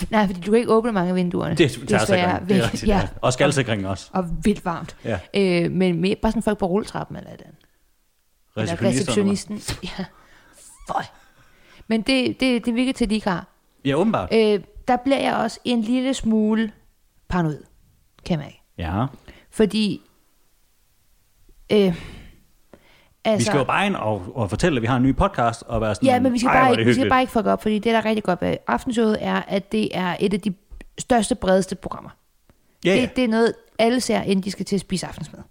Speaker 2: Nej, fordi du kan ikke åbne mange af vinduerne.
Speaker 1: Det er sikring. Det er rigtigt, ja.
Speaker 2: ja.
Speaker 1: Og skaldsikring også.
Speaker 2: Og vildt varmt.
Speaker 1: Ja.
Speaker 2: Øh, men mere, bare sådan folk på rulletrappen eller et eller andet. Eller receptionisten. Ja. Føj. Men det, det, det virker til, at de ikke har.
Speaker 1: Ja, åbenbart.
Speaker 2: Øh, der bliver jeg også en lille smule paranoid, kan man ikke.
Speaker 1: Ja.
Speaker 2: Fordi... Øh, altså,
Speaker 1: Vi skal jo bare ind og, og fortælle, at vi har en ny podcast, og være sådan,
Speaker 2: Ja, men vi skal,
Speaker 1: "Ej,
Speaker 2: bare
Speaker 1: hvor er
Speaker 2: ikke,
Speaker 1: det
Speaker 2: vi skal
Speaker 1: hyggeligt."
Speaker 2: bare ikke fuck op, fordi det, der er rigtig godt ved aftenshowet, er, at det er et af de største, bredeste programmer.
Speaker 1: Ja, ja.
Speaker 2: Det, det er noget, alle ser, inden de skal til at spise aftensmad.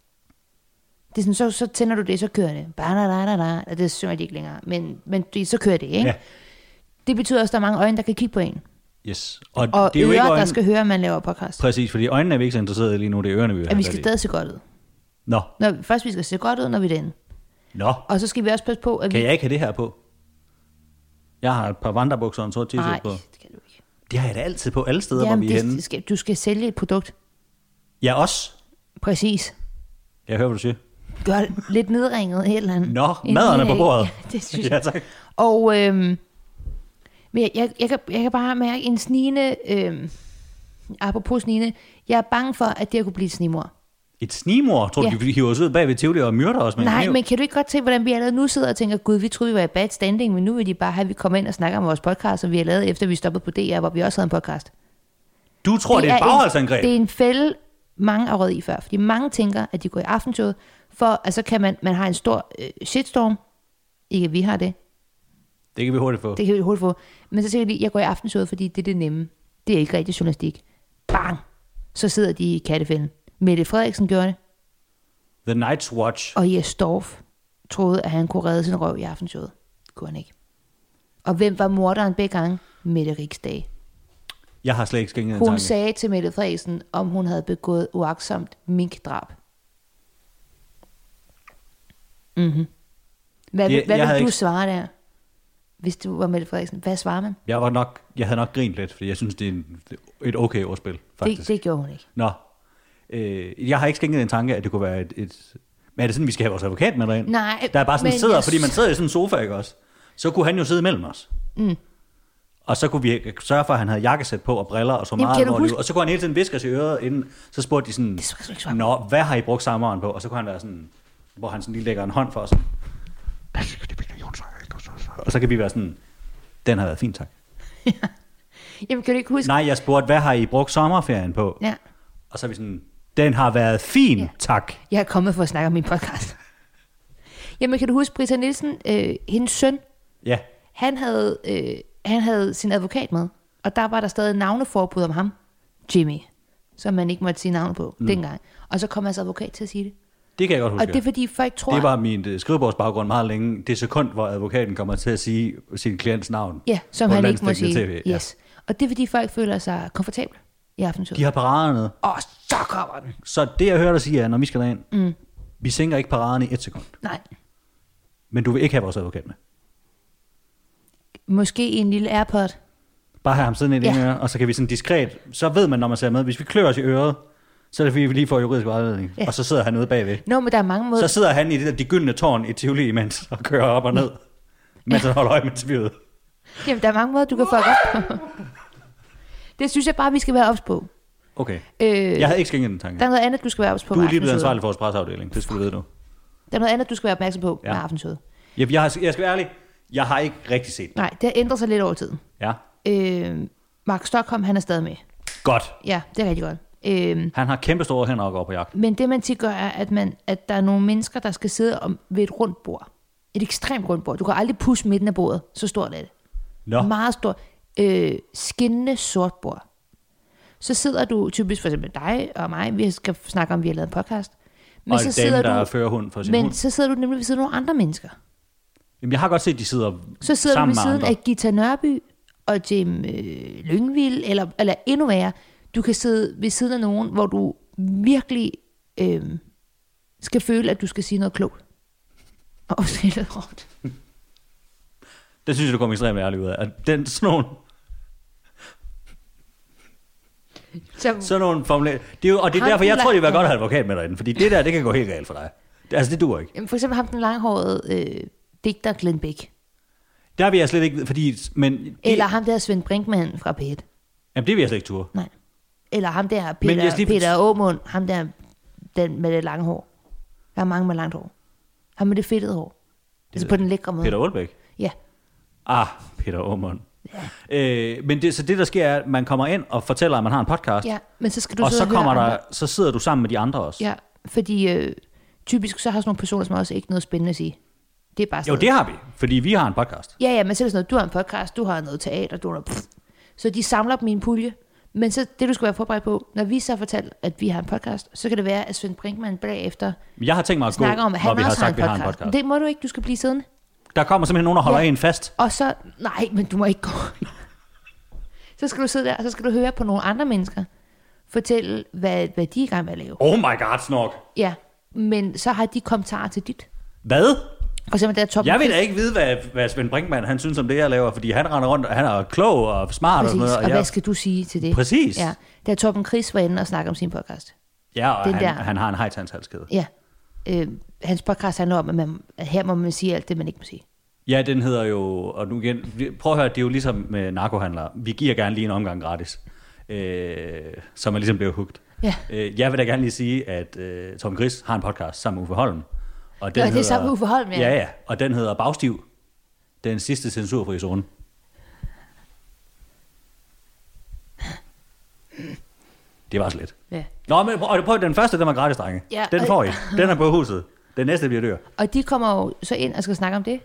Speaker 2: Det er sådan, så, så tænder du det, så kører det. Ba-da-da-da-da. Det synger de ikke længere, men, men det, så kører det, ikke?
Speaker 1: Ja.
Speaker 2: Ja. Det betyder også, at der er mange øjne, der kan kigge på en.
Speaker 1: Yes. Og,
Speaker 2: Og
Speaker 1: det er jo
Speaker 2: ører,
Speaker 1: ikke
Speaker 2: der
Speaker 1: øjnene,
Speaker 2: skal høre, at man laver podcast.
Speaker 1: Præcis, fordi øjnene er vi ikke så interesserede i lige nu, det er ørerne, vi vil
Speaker 2: At vi
Speaker 1: have
Speaker 2: skal
Speaker 1: fat i.
Speaker 2: stadig se godt ud.
Speaker 1: Nå,
Speaker 2: Når, først vi skal se godt ud, når vi er derinde.
Speaker 1: nå.
Speaker 2: Og så skal vi også passe på, at
Speaker 1: Kan
Speaker 2: vi...
Speaker 1: jeg ikke have det her på? Jeg har et par vandrebukser og en sort
Speaker 2: Nej,
Speaker 1: t-shirt på.
Speaker 2: det kan du ikke.
Speaker 1: Det har jeg da altid på, alle steder, hvor
Speaker 2: Jamen,
Speaker 1: vi er
Speaker 2: det,
Speaker 1: henne.
Speaker 2: det skal, du skal sælge et produkt.
Speaker 1: Ja, også.
Speaker 2: Præcis.
Speaker 1: Jeg hører, hvad du siger.
Speaker 2: gør det lidt nedringet et eller andet.
Speaker 1: Nå,
Speaker 2: En
Speaker 1: maden er
Speaker 2: lille-
Speaker 1: på bordet.
Speaker 2: Ja, det synes
Speaker 1: Ja,
Speaker 2: jeg.
Speaker 1: tak.
Speaker 2: Og øhm, men jeg, jeg, jeg, kan, jeg kan bare mærke en snigende, øhm, apropos snigende, jeg er bange for, at det her kunne blive et snimor.
Speaker 1: Et snimor, tror du,
Speaker 2: Ja.
Speaker 1: ja. vi hiver os ud bag ved Tivoli og myrder os med en
Speaker 2: Nej,
Speaker 1: kniv?
Speaker 2: men kan du ikke godt se, hvordan vi allerede nu sidder og tænker, gud, vi troede, vi var i bad standing, men nu vil de bare have, at vi kommer ind og snakker om vores podcast, som vi har lavet, efter vi stoppede på DR, hvor vi også havde en podcast.
Speaker 1: Du tror, det, det er et bagholdsangreb?
Speaker 2: Det er en fælde, mange har råd i før, fordi mange tænker, at de går i aftentoget, for at så kan man, man har en stor øh, shitstorm, ikke at vi har det,
Speaker 1: Det kan vi hurtigt få. Det.
Speaker 2: Det kan vi hurtigt få. Men så tænker de, jeg går i aftenshowet, fordi det er det nemme. Det er ikke rigtig journalistik. Bang! Så sidder de i kattefælden. Mette Frederiksen gjorde det,
Speaker 1: The Night's Watch.
Speaker 2: og Jes Dorf troede, at han kunne redde sin røv i aftenshowet. Det kunne han ikke. Og hvem var morderen begge gange? Mette Riksdag.
Speaker 1: Jeg har slet ikke skænket en
Speaker 2: Hun
Speaker 1: tanke.
Speaker 2: sagde til Mette Frederiksen, om hun havde begået uaksomt minkdrab. Mm-hmm. Hvad,
Speaker 1: Jeg-
Speaker 2: jeg, hvad
Speaker 1: jeg
Speaker 2: jeg
Speaker 1: havde
Speaker 2: vil du
Speaker 1: ikke-
Speaker 2: svare der, hvis du var Mette Frederiksen? Hvad svarer man?
Speaker 1: Jeg, var nok, jeg havde nok grint lidt, fordi jeg synes, det er en, et okay ordspil, faktisk.
Speaker 2: Det, det gjorde hun ikke.
Speaker 1: Nå. Øh, jeg har ikke skænket en tanke, at det kunne være et, et... Men er det sådan, vi skal have vores advokat med derind?
Speaker 2: Nej,
Speaker 1: Der er bare sådan,
Speaker 2: men
Speaker 1: sidder,
Speaker 2: jeg-
Speaker 1: fordi man sidder i sådan en sofa, ikke også? Så kunne han jo sidde mellem os. Mm. Og så kunne vi sørge for, at han havde jakkesæt på og briller og så
Speaker 2: Jamen,
Speaker 1: meget
Speaker 2: kan du
Speaker 1: alvorligt ud.
Speaker 2: huske-
Speaker 1: Og så kunne han hele tiden viske os i øret, inden så spurgte de sådan,
Speaker 2: Det skal du ikke svare på.
Speaker 1: Nå, hvad har I brugt sommeren på? Og så kunne han være sådan, hvor han sådan lige lægger en hånd for os. sådan, Og så kan vi være sådan, den har været fin, tak.
Speaker 2: Jamen, kan du ikke huske?
Speaker 1: Nej, jeg spurgte, hvad har I brugt sommerferien på?
Speaker 2: Ja.
Speaker 1: Og så er vi sådan, den har været fin,
Speaker 2: Ja.
Speaker 1: tak.
Speaker 2: Jeg er kommet for at snakke om min podcast. Jamen, kan du huske Brita Nielsen, øh, hendes søn,
Speaker 1: Ja,
Speaker 2: han havde, øh, han havde sin advokat med, og der var der stadig navneforbud om ham, Jimmy, som man ikke måtte sige navn på mm. dengang. Og så kom hans advokat til at sige det.
Speaker 1: det kan jeg godt huske.
Speaker 2: Og det er fordi folk tror...
Speaker 1: det var min øh, skrivebordsbaggrund meget længe. Det sekund, hvor advokaten kommer til at sige sin klients navn.
Speaker 2: Ja, som
Speaker 1: på
Speaker 2: han ikke må sige.
Speaker 1: landsdækkende TV. Ja.
Speaker 2: Yes. Og det er fordi folk føler sig komfortable i
Speaker 1: De
Speaker 2: aftenshowet.
Speaker 1: har paraderne.
Speaker 2: Og så kommer den!
Speaker 1: Så det, jeg hører dig sige, er, når vi skal derind, mm. vi sænker ikke paraderne i et sekund.
Speaker 2: Nej.
Speaker 1: Men du vil ikke have vores advokat med.
Speaker 2: Måske en lille AirPod.
Speaker 1: Bare have ham siddende i det
Speaker 2: Ja.
Speaker 1: ene øre, og så kan vi sådan diskret, så ved man, når man ser med, hvis vi klør os i øret, så er det fordi, vi lige får juridisk vejledning.
Speaker 2: Ja.
Speaker 1: Og så sidder han ude bagved.
Speaker 2: Nå, men der er mange måder...
Speaker 1: Så sidder han i det der de gyldne tårn i Tivoli imens, og kører op og ned, mens han holder øje med tvivlet.
Speaker 2: Jamen, der er mange måder, du kan fuck op på. Det synes jeg bare, vi skal være ops på.
Speaker 1: Okay.
Speaker 2: Øh,
Speaker 1: Jeg havde ikke skænket den tanke.
Speaker 2: Der er noget andet, du skal være ops på
Speaker 1: Du
Speaker 2: med
Speaker 1: er lige blevet
Speaker 2: aftenshowet.
Speaker 1: ansvarlig for vores presseafdeling, det skal du vide nu.
Speaker 2: Der er noget andet, du skal være opmærksom på
Speaker 1: Ja.
Speaker 2: ja. med aftenshowet.
Speaker 1: Jeg, jeg, har, jeg skal være ærlig, jeg har ikke rigtig set den.
Speaker 2: Nej, det har ændret sig lidt over tiden.
Speaker 1: Ja.
Speaker 2: Øh, Mark Stockholm, han er stadig med.
Speaker 1: Godt.
Speaker 2: Ja, det er rigtig godt. Øh,
Speaker 1: Han har kæmpe store hænder og går på jagt.
Speaker 2: men det, man tit gør, er, at, man, at der er nogle mennesker, der skal sidde om, ved et rundt bord. Et ekstremt rundt bord. Du kan aldrig pusse midten af bordet. Så stort er det.
Speaker 1: Nå,
Speaker 2: Meget stort. Øh, skinnende sort bord. Så sidder du typisk for eksempel dig og mig, vi skal snakke om, at vi har lavet en podcast.
Speaker 1: og en dame, der
Speaker 2: du,
Speaker 1: fører hund for sin
Speaker 2: men
Speaker 1: hund.
Speaker 2: så sidder du nemlig ved siden af nogle andre mennesker.
Speaker 1: Jamen, jeg har godt set, at de sidder,
Speaker 2: Så sidder
Speaker 1: sammen
Speaker 2: du ved
Speaker 1: med
Speaker 2: siden
Speaker 1: andre.
Speaker 2: af Gita Nørby og Jim øh, Lyngvild, eller, eller endnu værre, du kan sidde ved siden af nogen, hvor du virkelig øh, skal føle, at du skal sige noget klogt. Og stille det rundt.
Speaker 1: Det synes jeg, du kom ekstremt ærligt ud af. At den, sådan nogle,
Speaker 2: Så,
Speaker 1: sådan nogle formuleringer. Det er jo, og det er
Speaker 2: Har
Speaker 1: derfor,
Speaker 2: du
Speaker 1: jeg tror, det vil være
Speaker 2: lagt-
Speaker 1: godt at have advokat med derinde. Fordi det der, det kan gå helt galt for dig. Det- Altså, det duer ikke.
Speaker 2: Jamen, for eksempel ham den langhårede øh, digter Glenn Beck.
Speaker 1: Der vil jeg slet ikke, fordi... Men det,
Speaker 2: Eller ham der Svend Brinkmann fra P1.
Speaker 1: Jamen, det vil jeg slet ikke ture.
Speaker 2: Nej. Eller ham der
Speaker 1: Men jeg
Speaker 2: Peter,
Speaker 1: skal
Speaker 2: lige...
Speaker 1: lige-
Speaker 2: Peter Aumund, ham der den med det lange hår. Der er mange med langt hår. Ham med det fedtede hår. Det altså på den lækre måde.
Speaker 1: Peter Aalbæk.
Speaker 2: Ja.
Speaker 1: Ah, Peter Aumund. Ja. Øh, men det, så det, der sker, er, at man kommer ind og fortæller, at man har en podcast.
Speaker 2: ja, men så skal du
Speaker 1: og
Speaker 2: sidde
Speaker 1: så,
Speaker 2: høre
Speaker 1: kommer der,
Speaker 2: andre.
Speaker 1: så sidder du sammen med de andre også.
Speaker 2: Ja, fordi øh, typisk så har sådan nogle personer som også ikke noget spændende at sige. Det er bare sådan
Speaker 1: Jo, det har vi, fordi vi har en podcast.
Speaker 2: Ja, ja, men så er det sådan noget, du har en podcast, du har noget teater, du har noget... Pff. Så de samler dem i en pulje. Men så det, du skal være forberedt på, når vi så har fortalt, at vi har en podcast, så kan det være, at Svend Brinkmann bagefter
Speaker 1: Jeg har tænkt mig at gå,
Speaker 2: snakker om, at han
Speaker 1: når vi har
Speaker 2: også
Speaker 1: sagt, at vi
Speaker 2: har,
Speaker 1: har
Speaker 2: en podcast. Men
Speaker 1: podcast.
Speaker 2: Det må du ikke, du skal blive siddende.
Speaker 1: Der kommer simpelthen nogen og holder
Speaker 2: Ja.
Speaker 1: en fast.
Speaker 2: Og så, nej, men du må ikke gå. så skal du sidde der, og så skal du høre på nogle andre mennesker fortælle, hvad, hvad de er i gang med at lave.
Speaker 1: Oh my god, Snork.
Speaker 2: Ja, men så har de kommentarer til dit.
Speaker 1: Hvad?
Speaker 2: For eksempel, der er Torben
Speaker 1: Jeg vil da
Speaker 2: Chris-
Speaker 1: ikke vide, hvad, hvad Svend Brinkmann han synes om det, jeg laver, fordi han render rundt, og han er klog og smart
Speaker 2: Præcis,
Speaker 1: og sådan noget.
Speaker 2: og
Speaker 1: jeg,
Speaker 2: hvad skal du sige til det?
Speaker 1: Præcis.
Speaker 2: Ja, der Torben Chris var inde og snakke om sin podcast.
Speaker 1: ja, og
Speaker 2: den
Speaker 1: han,
Speaker 2: der-
Speaker 1: han har en hejtandshalskede.
Speaker 2: Ja. Øh, hans podcast handler om, at, man, at her må man sige alt det, man ikke må sige.
Speaker 1: Ja, den hedder jo, og nu igen, vi- prøv at høre, det er jo ligesom med narkohandlere. Vi giver gerne lige en omgang gratis, øh, så man ligesom bliver hugt.
Speaker 2: Ja.
Speaker 1: Øh, jeg vil da gerne lige sige, at øh, Tom Gris har en podcast sammen med Uffe Holm. Og
Speaker 2: Nå, det er sammen med Uffe Holm, ja.
Speaker 1: ja. Ja, og den hedder Bagstiv, den sidste censurfri zone. Det var så lidt.
Speaker 2: Ja.
Speaker 1: Nå, men prøv, og prøv, den første, den var gratis, drenge.
Speaker 2: Ja,
Speaker 1: den
Speaker 2: og-
Speaker 1: får I. Den er på huset. Den næste bliver dyr.
Speaker 2: Og de kommer jo så ind og skal snakke om det.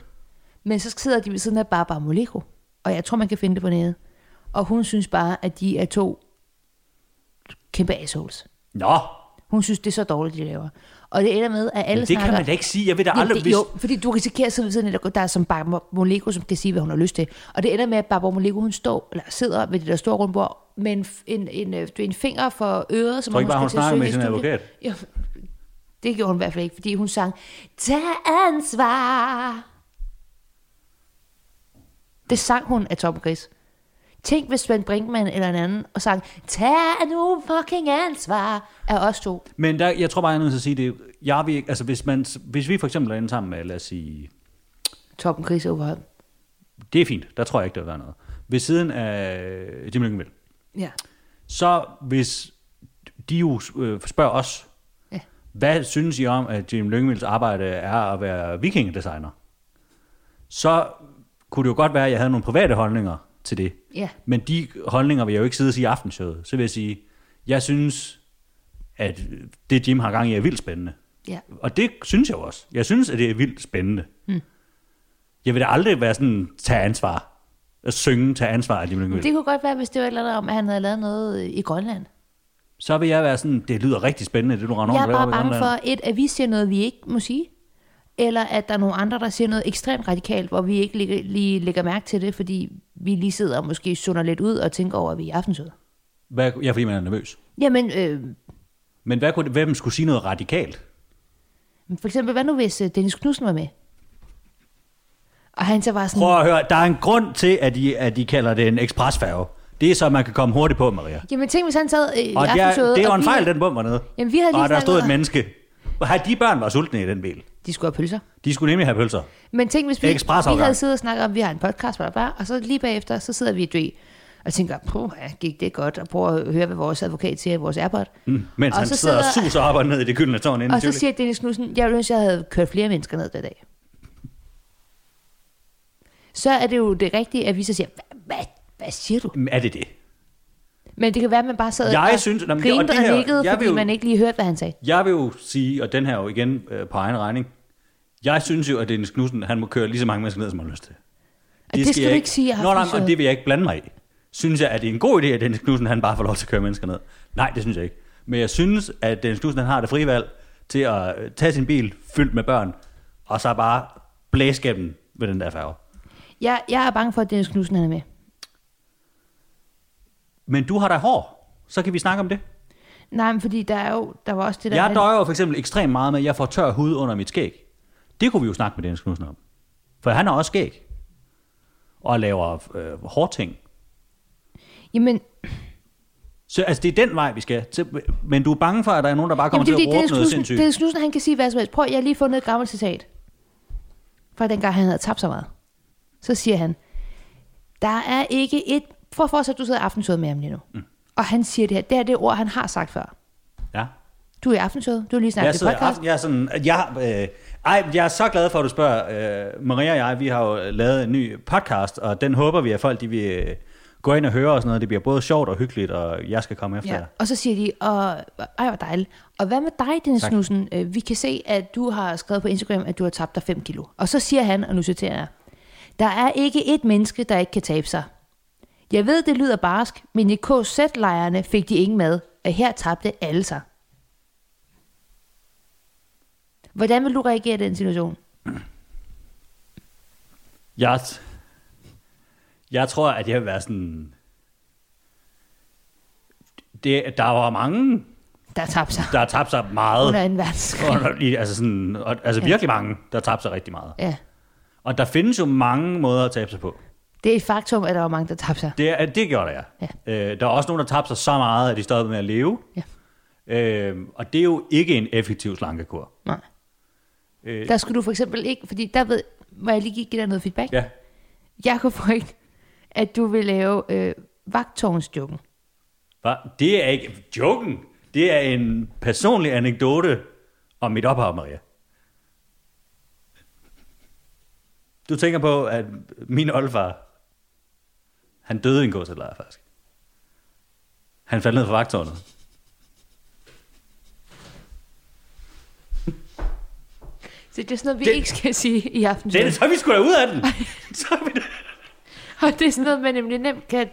Speaker 2: Men så sidder de ved siden af Barbara Moleko. Og jeg tror, man kan finde det på nettet. Og hun synes bare, at de er to kæmpe assholes.
Speaker 1: Nå,
Speaker 2: Hun synes, det er så dårligt, de laver. Og det ender med, at alle
Speaker 1: Men det
Speaker 2: snakker...
Speaker 1: kan man da ikke sige. Jeg ved da
Speaker 2: Jamen,
Speaker 1: aldrig,
Speaker 2: det,
Speaker 1: hvis...
Speaker 2: Jo, fordi du risikerer at sidde ved siden af, der- der er som Barbara Moleko, som kan sige, hvad hun har lyst til. Og det ender med, at Barbara Moleko, hun står, eller sidder ved det der store runde bord, med en, f- en, en, øh, du ved, en finger for øret, som
Speaker 1: Tror
Speaker 2: om
Speaker 1: ikke bare, hun
Speaker 2: skal til at
Speaker 1: snakker
Speaker 2: synge
Speaker 1: med
Speaker 2: i
Speaker 1: sin
Speaker 2: studiet. Jo, det gjorde hun i hvert fald ikke, fordi hun sang, Tag ansvar. Det sang hun af Tom Gris. Tænk, hvis Svend Brinkmann eller en anden, og sang, Tag nu fucking ansvar, af os to.
Speaker 1: Men der, jeg tror bare, jeg er nødt til at sige det. Jeg vil, ikke- altså, hvis, man, hvis vi for eksempel er inde sammen med, lad os sige...
Speaker 2: Tom Gris og Uffe Holm.
Speaker 1: Det er fint. Der tror jeg ikke, der vil være noget. Ved siden af øh, Jim Lyngvild.
Speaker 2: Ja.
Speaker 1: Så hvis de jo øh, spørger os,
Speaker 2: ja.
Speaker 1: hvad synes I om, at Jim Lyngvilds arbejde er at være vikingdesigner? Så kunne det jo godt være, at jeg havde nogle private holdninger til det.
Speaker 2: Ja.
Speaker 1: Men de holdninger vil jeg jo ikke sidde og sige i aftenshowet. Så vil jeg sige, jeg synes, at det Jim har gang i er vildt spændende.
Speaker 2: Ja.
Speaker 1: Og det synes jeg jo også. Jeg synes, at det er vildt spændende. Mm. Jeg vil da aldrig være sådan, tage ansvar. At synge, tage ansvar af Jim Lyngvild.
Speaker 2: Det kunne godt være, hvis det var et eller andet om, at han havde lavet noget øh, i Grønland.
Speaker 1: Så vil jeg være sådan, det lyder rigtig spændende, det du render
Speaker 2: Nå, jeg
Speaker 1: rundt
Speaker 2: er
Speaker 1: og laver
Speaker 2: bare
Speaker 1: i
Speaker 2: bange
Speaker 1: Grønland."
Speaker 2: for, et, at vi siger noget, vi ikke må sige. Eller at der er nogle andre, der siger noget ekstremt radikalt, hvor vi ikke lige, lige lægger mærke til det, fordi vi lige sidder og måske sunder lidt ud og tænker over, at vi er i aftensøde.
Speaker 1: Hvad, ja, fordi man er nervøs.
Speaker 2: Jamen, øh,
Speaker 1: Men hvad kunne, det- hvem skulle sige noget radikalt?
Speaker 2: for eksempel, hvad nu hvis øh, Dennis Knudsen var med? Og han så var sådan,
Speaker 1: Prøv at høre, der er en grund til, at de, at de kalder det en ekspresfærge. Det er så, man kan komme hurtigt på, Maria.
Speaker 2: jamen tænk, hvis han sad øh, i
Speaker 1: Og det er,
Speaker 2: aftensøde.
Speaker 1: det er jo
Speaker 2: og
Speaker 1: en
Speaker 2: vi-
Speaker 1: fejl, den bum var nede.
Speaker 2: Jamen, vi havde lige
Speaker 1: og der
Speaker 2: snakket
Speaker 1: stod et
Speaker 2: om-
Speaker 1: menneske. Og her, de børn var sultne i den bil.
Speaker 2: De skulle have pølser.
Speaker 1: De skulle nemlig have pølser.
Speaker 2: Men tænk, hvis vi, vi
Speaker 1: Ekspresafgang.
Speaker 2: havde siddet og snakket om, at vi har en podcast, bla, bla, bla, og så lige bagefter, så sidder vi i dø og tænker, puha, gik det godt, og prøver at høre, hvad vores advokat siger i vores airport.
Speaker 1: Mm, mens
Speaker 2: Og
Speaker 1: han
Speaker 2: så
Speaker 1: sidder og
Speaker 2: sidder-
Speaker 1: suser op og ned i det gyldne tårn inden
Speaker 2: Og så
Speaker 1: Tivoli.
Speaker 2: siger Dennis Knudsen, jeg ville ønske, jeg havde kørt flere mennesker ned den dag. Så er det jo det rigtige, at vi så siger, "Hva- hvad, hvad siger du?
Speaker 1: Mm, Er det det?
Speaker 2: Men det kan være, at man bare sad
Speaker 1: Jeg
Speaker 2: og
Speaker 1: synes- Nå, men det- og
Speaker 2: grinede
Speaker 1: det
Speaker 2: og
Speaker 1: her-
Speaker 2: nikkede,
Speaker 1: jeg vil
Speaker 2: fordi
Speaker 1: jo-
Speaker 2: man ikke lige hørte, hvad han sagde.
Speaker 1: Jeg vil jo sige, og den her er jo igen øh, på egen regning, jeg synes jo, at Dennis Knudsen, han må køre lige så mange mennesker ned, som han har lyst til.
Speaker 2: Og det, skal
Speaker 1: jeg
Speaker 2: du
Speaker 1: ikke-
Speaker 2: ikke sige, jeg
Speaker 1: Nå, nej,
Speaker 2: har
Speaker 1: og det vil jeg ikke blande mig i. Synes jeg, at det er en god idé, at Dennis Knudsen han bare får lov til at køre mennesker ned? Nej, det synes jeg ikke. Men jeg synes, at Dennis Knudsen han har det frie valg til at øh, tage sin bil fyldt med børn, og så bare blæse gennem med den der færge.
Speaker 2: Jeg, jeg er bange for, at Dennis Knudsen han er med.
Speaker 1: Men du har da hår, så kan vi snakke om det.
Speaker 2: Nej, men fordi der er jo, der var også det der...
Speaker 1: Jeg
Speaker 2: med-
Speaker 1: døjer jo for eksempel ekstremt meget med, at jeg får tør hud under mit skæg. Det kunne vi jo snakke med Dennis Knudsen om. For han har også skæg. Og laver øh, hårting.
Speaker 2: Jamen,
Speaker 1: Så altså, det er den vej, vi skal. Til, men du er bange for, at der er nogen, der bare kommer
Speaker 2: Jamen, det er
Speaker 1: til at råbe
Speaker 2: fordi, Dennis
Speaker 1: noget
Speaker 2: Knudsen,
Speaker 1: sindssygt.
Speaker 2: Dennis Knudsen, han kan sige hvad som helst. Prøv, jeg har lige fundet et gammelt citat. Fra dengang han havde tabt så meget. Så siger han, der er ikke et... Prøv for at du sidder i aftensøget med ham lige nu. Mm. Og han siger det her. Det her det er ord, han har sagt før.
Speaker 1: Ja.
Speaker 2: Du er i aftensøget. Du har lige
Speaker 1: Jeg,
Speaker 2: snakket i
Speaker 1: sidder, i
Speaker 2: podcast.
Speaker 1: aften, jeg, er sådan, jeg, øh, ej, jeg er så glad for, at du spørger. Øh, Maria og jeg, vi har jo lavet en ny podcast, og den håber vi, at folk de vil øh, gå ind og høre og sådan noget. Det bliver både sjovt og hyggeligt, og jeg skal komme efter
Speaker 2: Ja.
Speaker 1: jer.
Speaker 2: Og så siger de, og, ej hvor dejligt. Og hvad med dig, Dennis
Speaker 1: Tak.
Speaker 2: Knudsen? Øh, Vi kan se, at du har skrevet på Instagram, at du har tabt dig 5 kilo. Og så siger han, og nu citerer jeg, der er ikke et menneske, der ikke kan tabe sig. Jeg ved, det lyder barsk, men i KZ-lejrene fik de ingen mad, og her tabte alle sig. Hvordan vil du reagere i den situation?
Speaker 1: Jeg, jeg tror, at jeg vil være sådan... Det, der var mange,
Speaker 2: Der tabte sig
Speaker 1: der har tabt sig meget.
Speaker 2: under en verdenskrig.
Speaker 1: Under- i- altså sådan, og, altså virkelig mange, der har tabt sig rigtig meget.
Speaker 2: Ja.
Speaker 1: Og der findes jo mange måder at tabe sig på.
Speaker 2: Det er et faktum, at der var mange, der tabte sig.
Speaker 1: Det, er- det gjorde jeg. Ja. Øh, der er også nogen, der tabte sig så meget, at de stoppede med at leve.
Speaker 2: Ja.
Speaker 1: Øh, og det er jo ikke en effektiv slankekur.
Speaker 2: Nej.
Speaker 1: Øh,
Speaker 2: Der skulle du for eksempel ikke, fordi der ved, må jeg lige give dig noget feedback?
Speaker 1: ja.
Speaker 2: Jeg kunne frygte, at du vil lave øh, vagtårnsjukken.
Speaker 1: Hva? Det er ikke joken. Det er en personlig anekdote om mit ophav, Maria. Du tænker på, at min oldefar, han døde i en gåsætlejr faktisk. Han faldt ned fra vagtårnet.
Speaker 2: Så det er sådan noget, vi
Speaker 1: Det-
Speaker 2: det, ikke skal sige i aften.
Speaker 1: Det er det, så vi skulle da ud af den. Så er vi da-
Speaker 2: Og det er sådan noget, man nemlig nemt kan...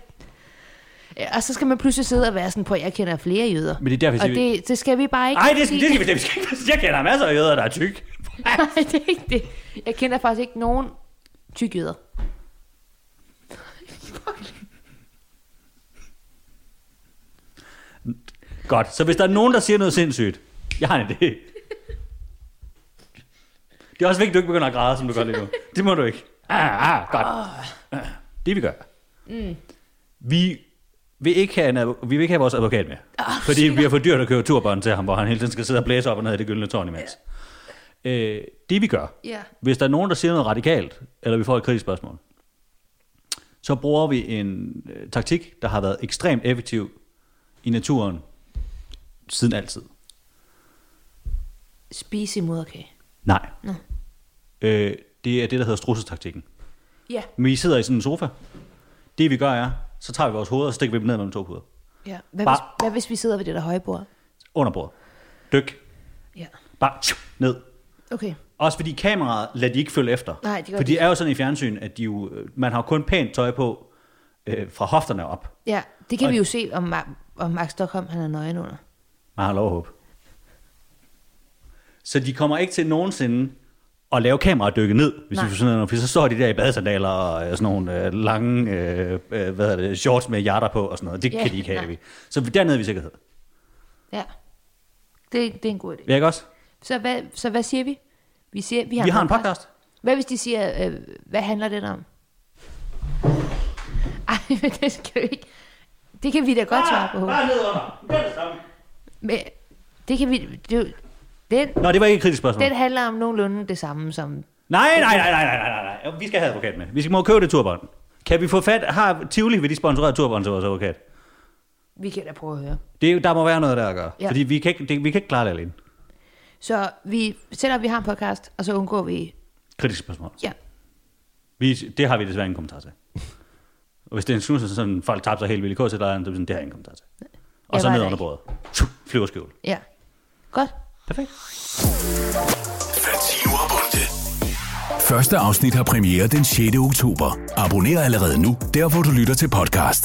Speaker 2: Ja, Og så skal man pludselig sidde og være sådan på, at jeg kender flere jøder.
Speaker 1: Men det er derfor, jeg
Speaker 2: og
Speaker 1: siger, vi-
Speaker 2: det, det skal vi bare ikke
Speaker 1: Ej, det, skal-
Speaker 2: sige.
Speaker 1: det, skal, det skal ikke Jeg kender masser af jøder, der er tyk.
Speaker 2: Nej, det er ikke det. Jeg kender faktisk ikke nogen tyk jøder.
Speaker 1: Godt, så hvis der er nogen, der siger noget sindssygt. Jeg har en idé. Det er også vigtigt, at du ikke begynder at græde, som du gør lige nu. Det må du ikke. Ah, ah, godt. Ah, Det vi gør. Vi vil ikke have, en, advo- vi vil ikke have vores advokat med. fordi vi har for dyrt at køre turbånd til ham, hvor han hele tiden skal sidde og blæse op og ned i det gyldne tårn imens. Øh, det vi gør,
Speaker 2: Ja.
Speaker 1: hvis der er nogen, der siger noget radikalt, eller vi får et kritisk spørgsmål, så bruger vi en øh, taktik, der har været ekstremt effektiv i naturen siden altid.
Speaker 2: Spise i moderkage.
Speaker 1: Nej. Øh, det er det, der hedder strussetaktikken.
Speaker 2: Ja,
Speaker 1: Men I sidder i sådan en sofa. Det vi gør er, så tager vi vores hoveder og så stikker vi dem ned mellem to puder.
Speaker 2: ja. Hvad,
Speaker 1: Bare-
Speaker 2: hvis, hvad hvis vi sidder ved det der høje bord?
Speaker 1: Under bordet. Dyk.
Speaker 2: Ja.
Speaker 1: Bare tju, ned.
Speaker 2: Okay.
Speaker 1: Også fordi kameraet lader de ikke følge efter.
Speaker 2: Nej, det gør
Speaker 1: For
Speaker 2: de
Speaker 1: de er jo sådan i fjernsyn, at de jo, øh, man har jo kun pænt tøj på øh, fra hofterne op.
Speaker 2: Ja, det kan
Speaker 1: Og-
Speaker 2: og... vi jo se, om, Ma- om Mark Stockholm han er nøgen under.
Speaker 1: Man har lov at håbe. Så de kommer ikke til nogensinde at lave kameradykke ned, hvis
Speaker 2: Nej.
Speaker 1: Nej. vi sådan noget, for så står de der i badesandaler og øh, sådan nogle øh, lange øh, øh, hvad hedder det, shorts med hjerter på og sådan noget. Det
Speaker 2: Ja,
Speaker 1: kan de ikke have.
Speaker 2: nej.
Speaker 1: vi. Så dernede er vi i sikkerhed.
Speaker 2: Ja. Det, det er en god idé.
Speaker 1: Ja, ikke også?
Speaker 2: Så hvad, så hvad siger vi? Vi, siger, vi, har,
Speaker 1: Vi har en podcast.
Speaker 2: Hvad hvis de siger, øh, hvad handler den om? Ej, men det skal vi ikke. Det kan vi da godt svare på.
Speaker 1: ned under. Det er det samme.
Speaker 2: Men det kan vi... Det, er jo- den,
Speaker 1: Nå, det var ikke et kritisk spørgsmål.
Speaker 2: den handler om nogenlunde det samme som...
Speaker 1: Nej, nej, nej, nej, nej, nej, nej, nej. Vi skal have advokat med. Vi skal må købe det turbånd. Kan vi få fat? Har Tivoli, vil de sponsorere turbånd til vores advokat?
Speaker 2: Vi kan da prøve at høre.
Speaker 1: Det, er jo- der må være noget der at gøre.
Speaker 2: Ja.
Speaker 1: Ja. Fordi vi kan, ikke, det, vi kan ikke klare det alene.
Speaker 2: Så vi, selvom vi har en podcast, og så undgår vi...
Speaker 1: Kritisk spørgsmål.
Speaker 2: Ja,
Speaker 1: Vi, det har vi desværre ingen kommentar til. Og hvis det er en snus, så sådan, folk tabte sig helt vildt i kurs, så er det sådan, det har jeg ingen kommentar til. Og
Speaker 2: Jeg
Speaker 1: så
Speaker 2: var
Speaker 1: ned
Speaker 2: der
Speaker 1: under
Speaker 2: ikke.
Speaker 1: bordet. Tju, Flyverskjul.
Speaker 2: ja. Godt.
Speaker 1: Perfekt.
Speaker 3: Fantino og Bunde. Første afsnit har premiere den 6. oktober. Abonner allerede nu, der hvor du lytter til podcast.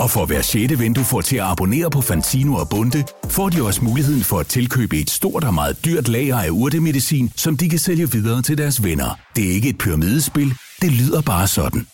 Speaker 3: Og for hver sjette ven, du får til at abonnere på Fantino og Bunde, får de også muligheden for at tilkøbe et stort og meget dyrt lager af urtemedicin, som de kan sælge videre til deres venner. Det er ikke et pyramidespil, det lyder bare sådan.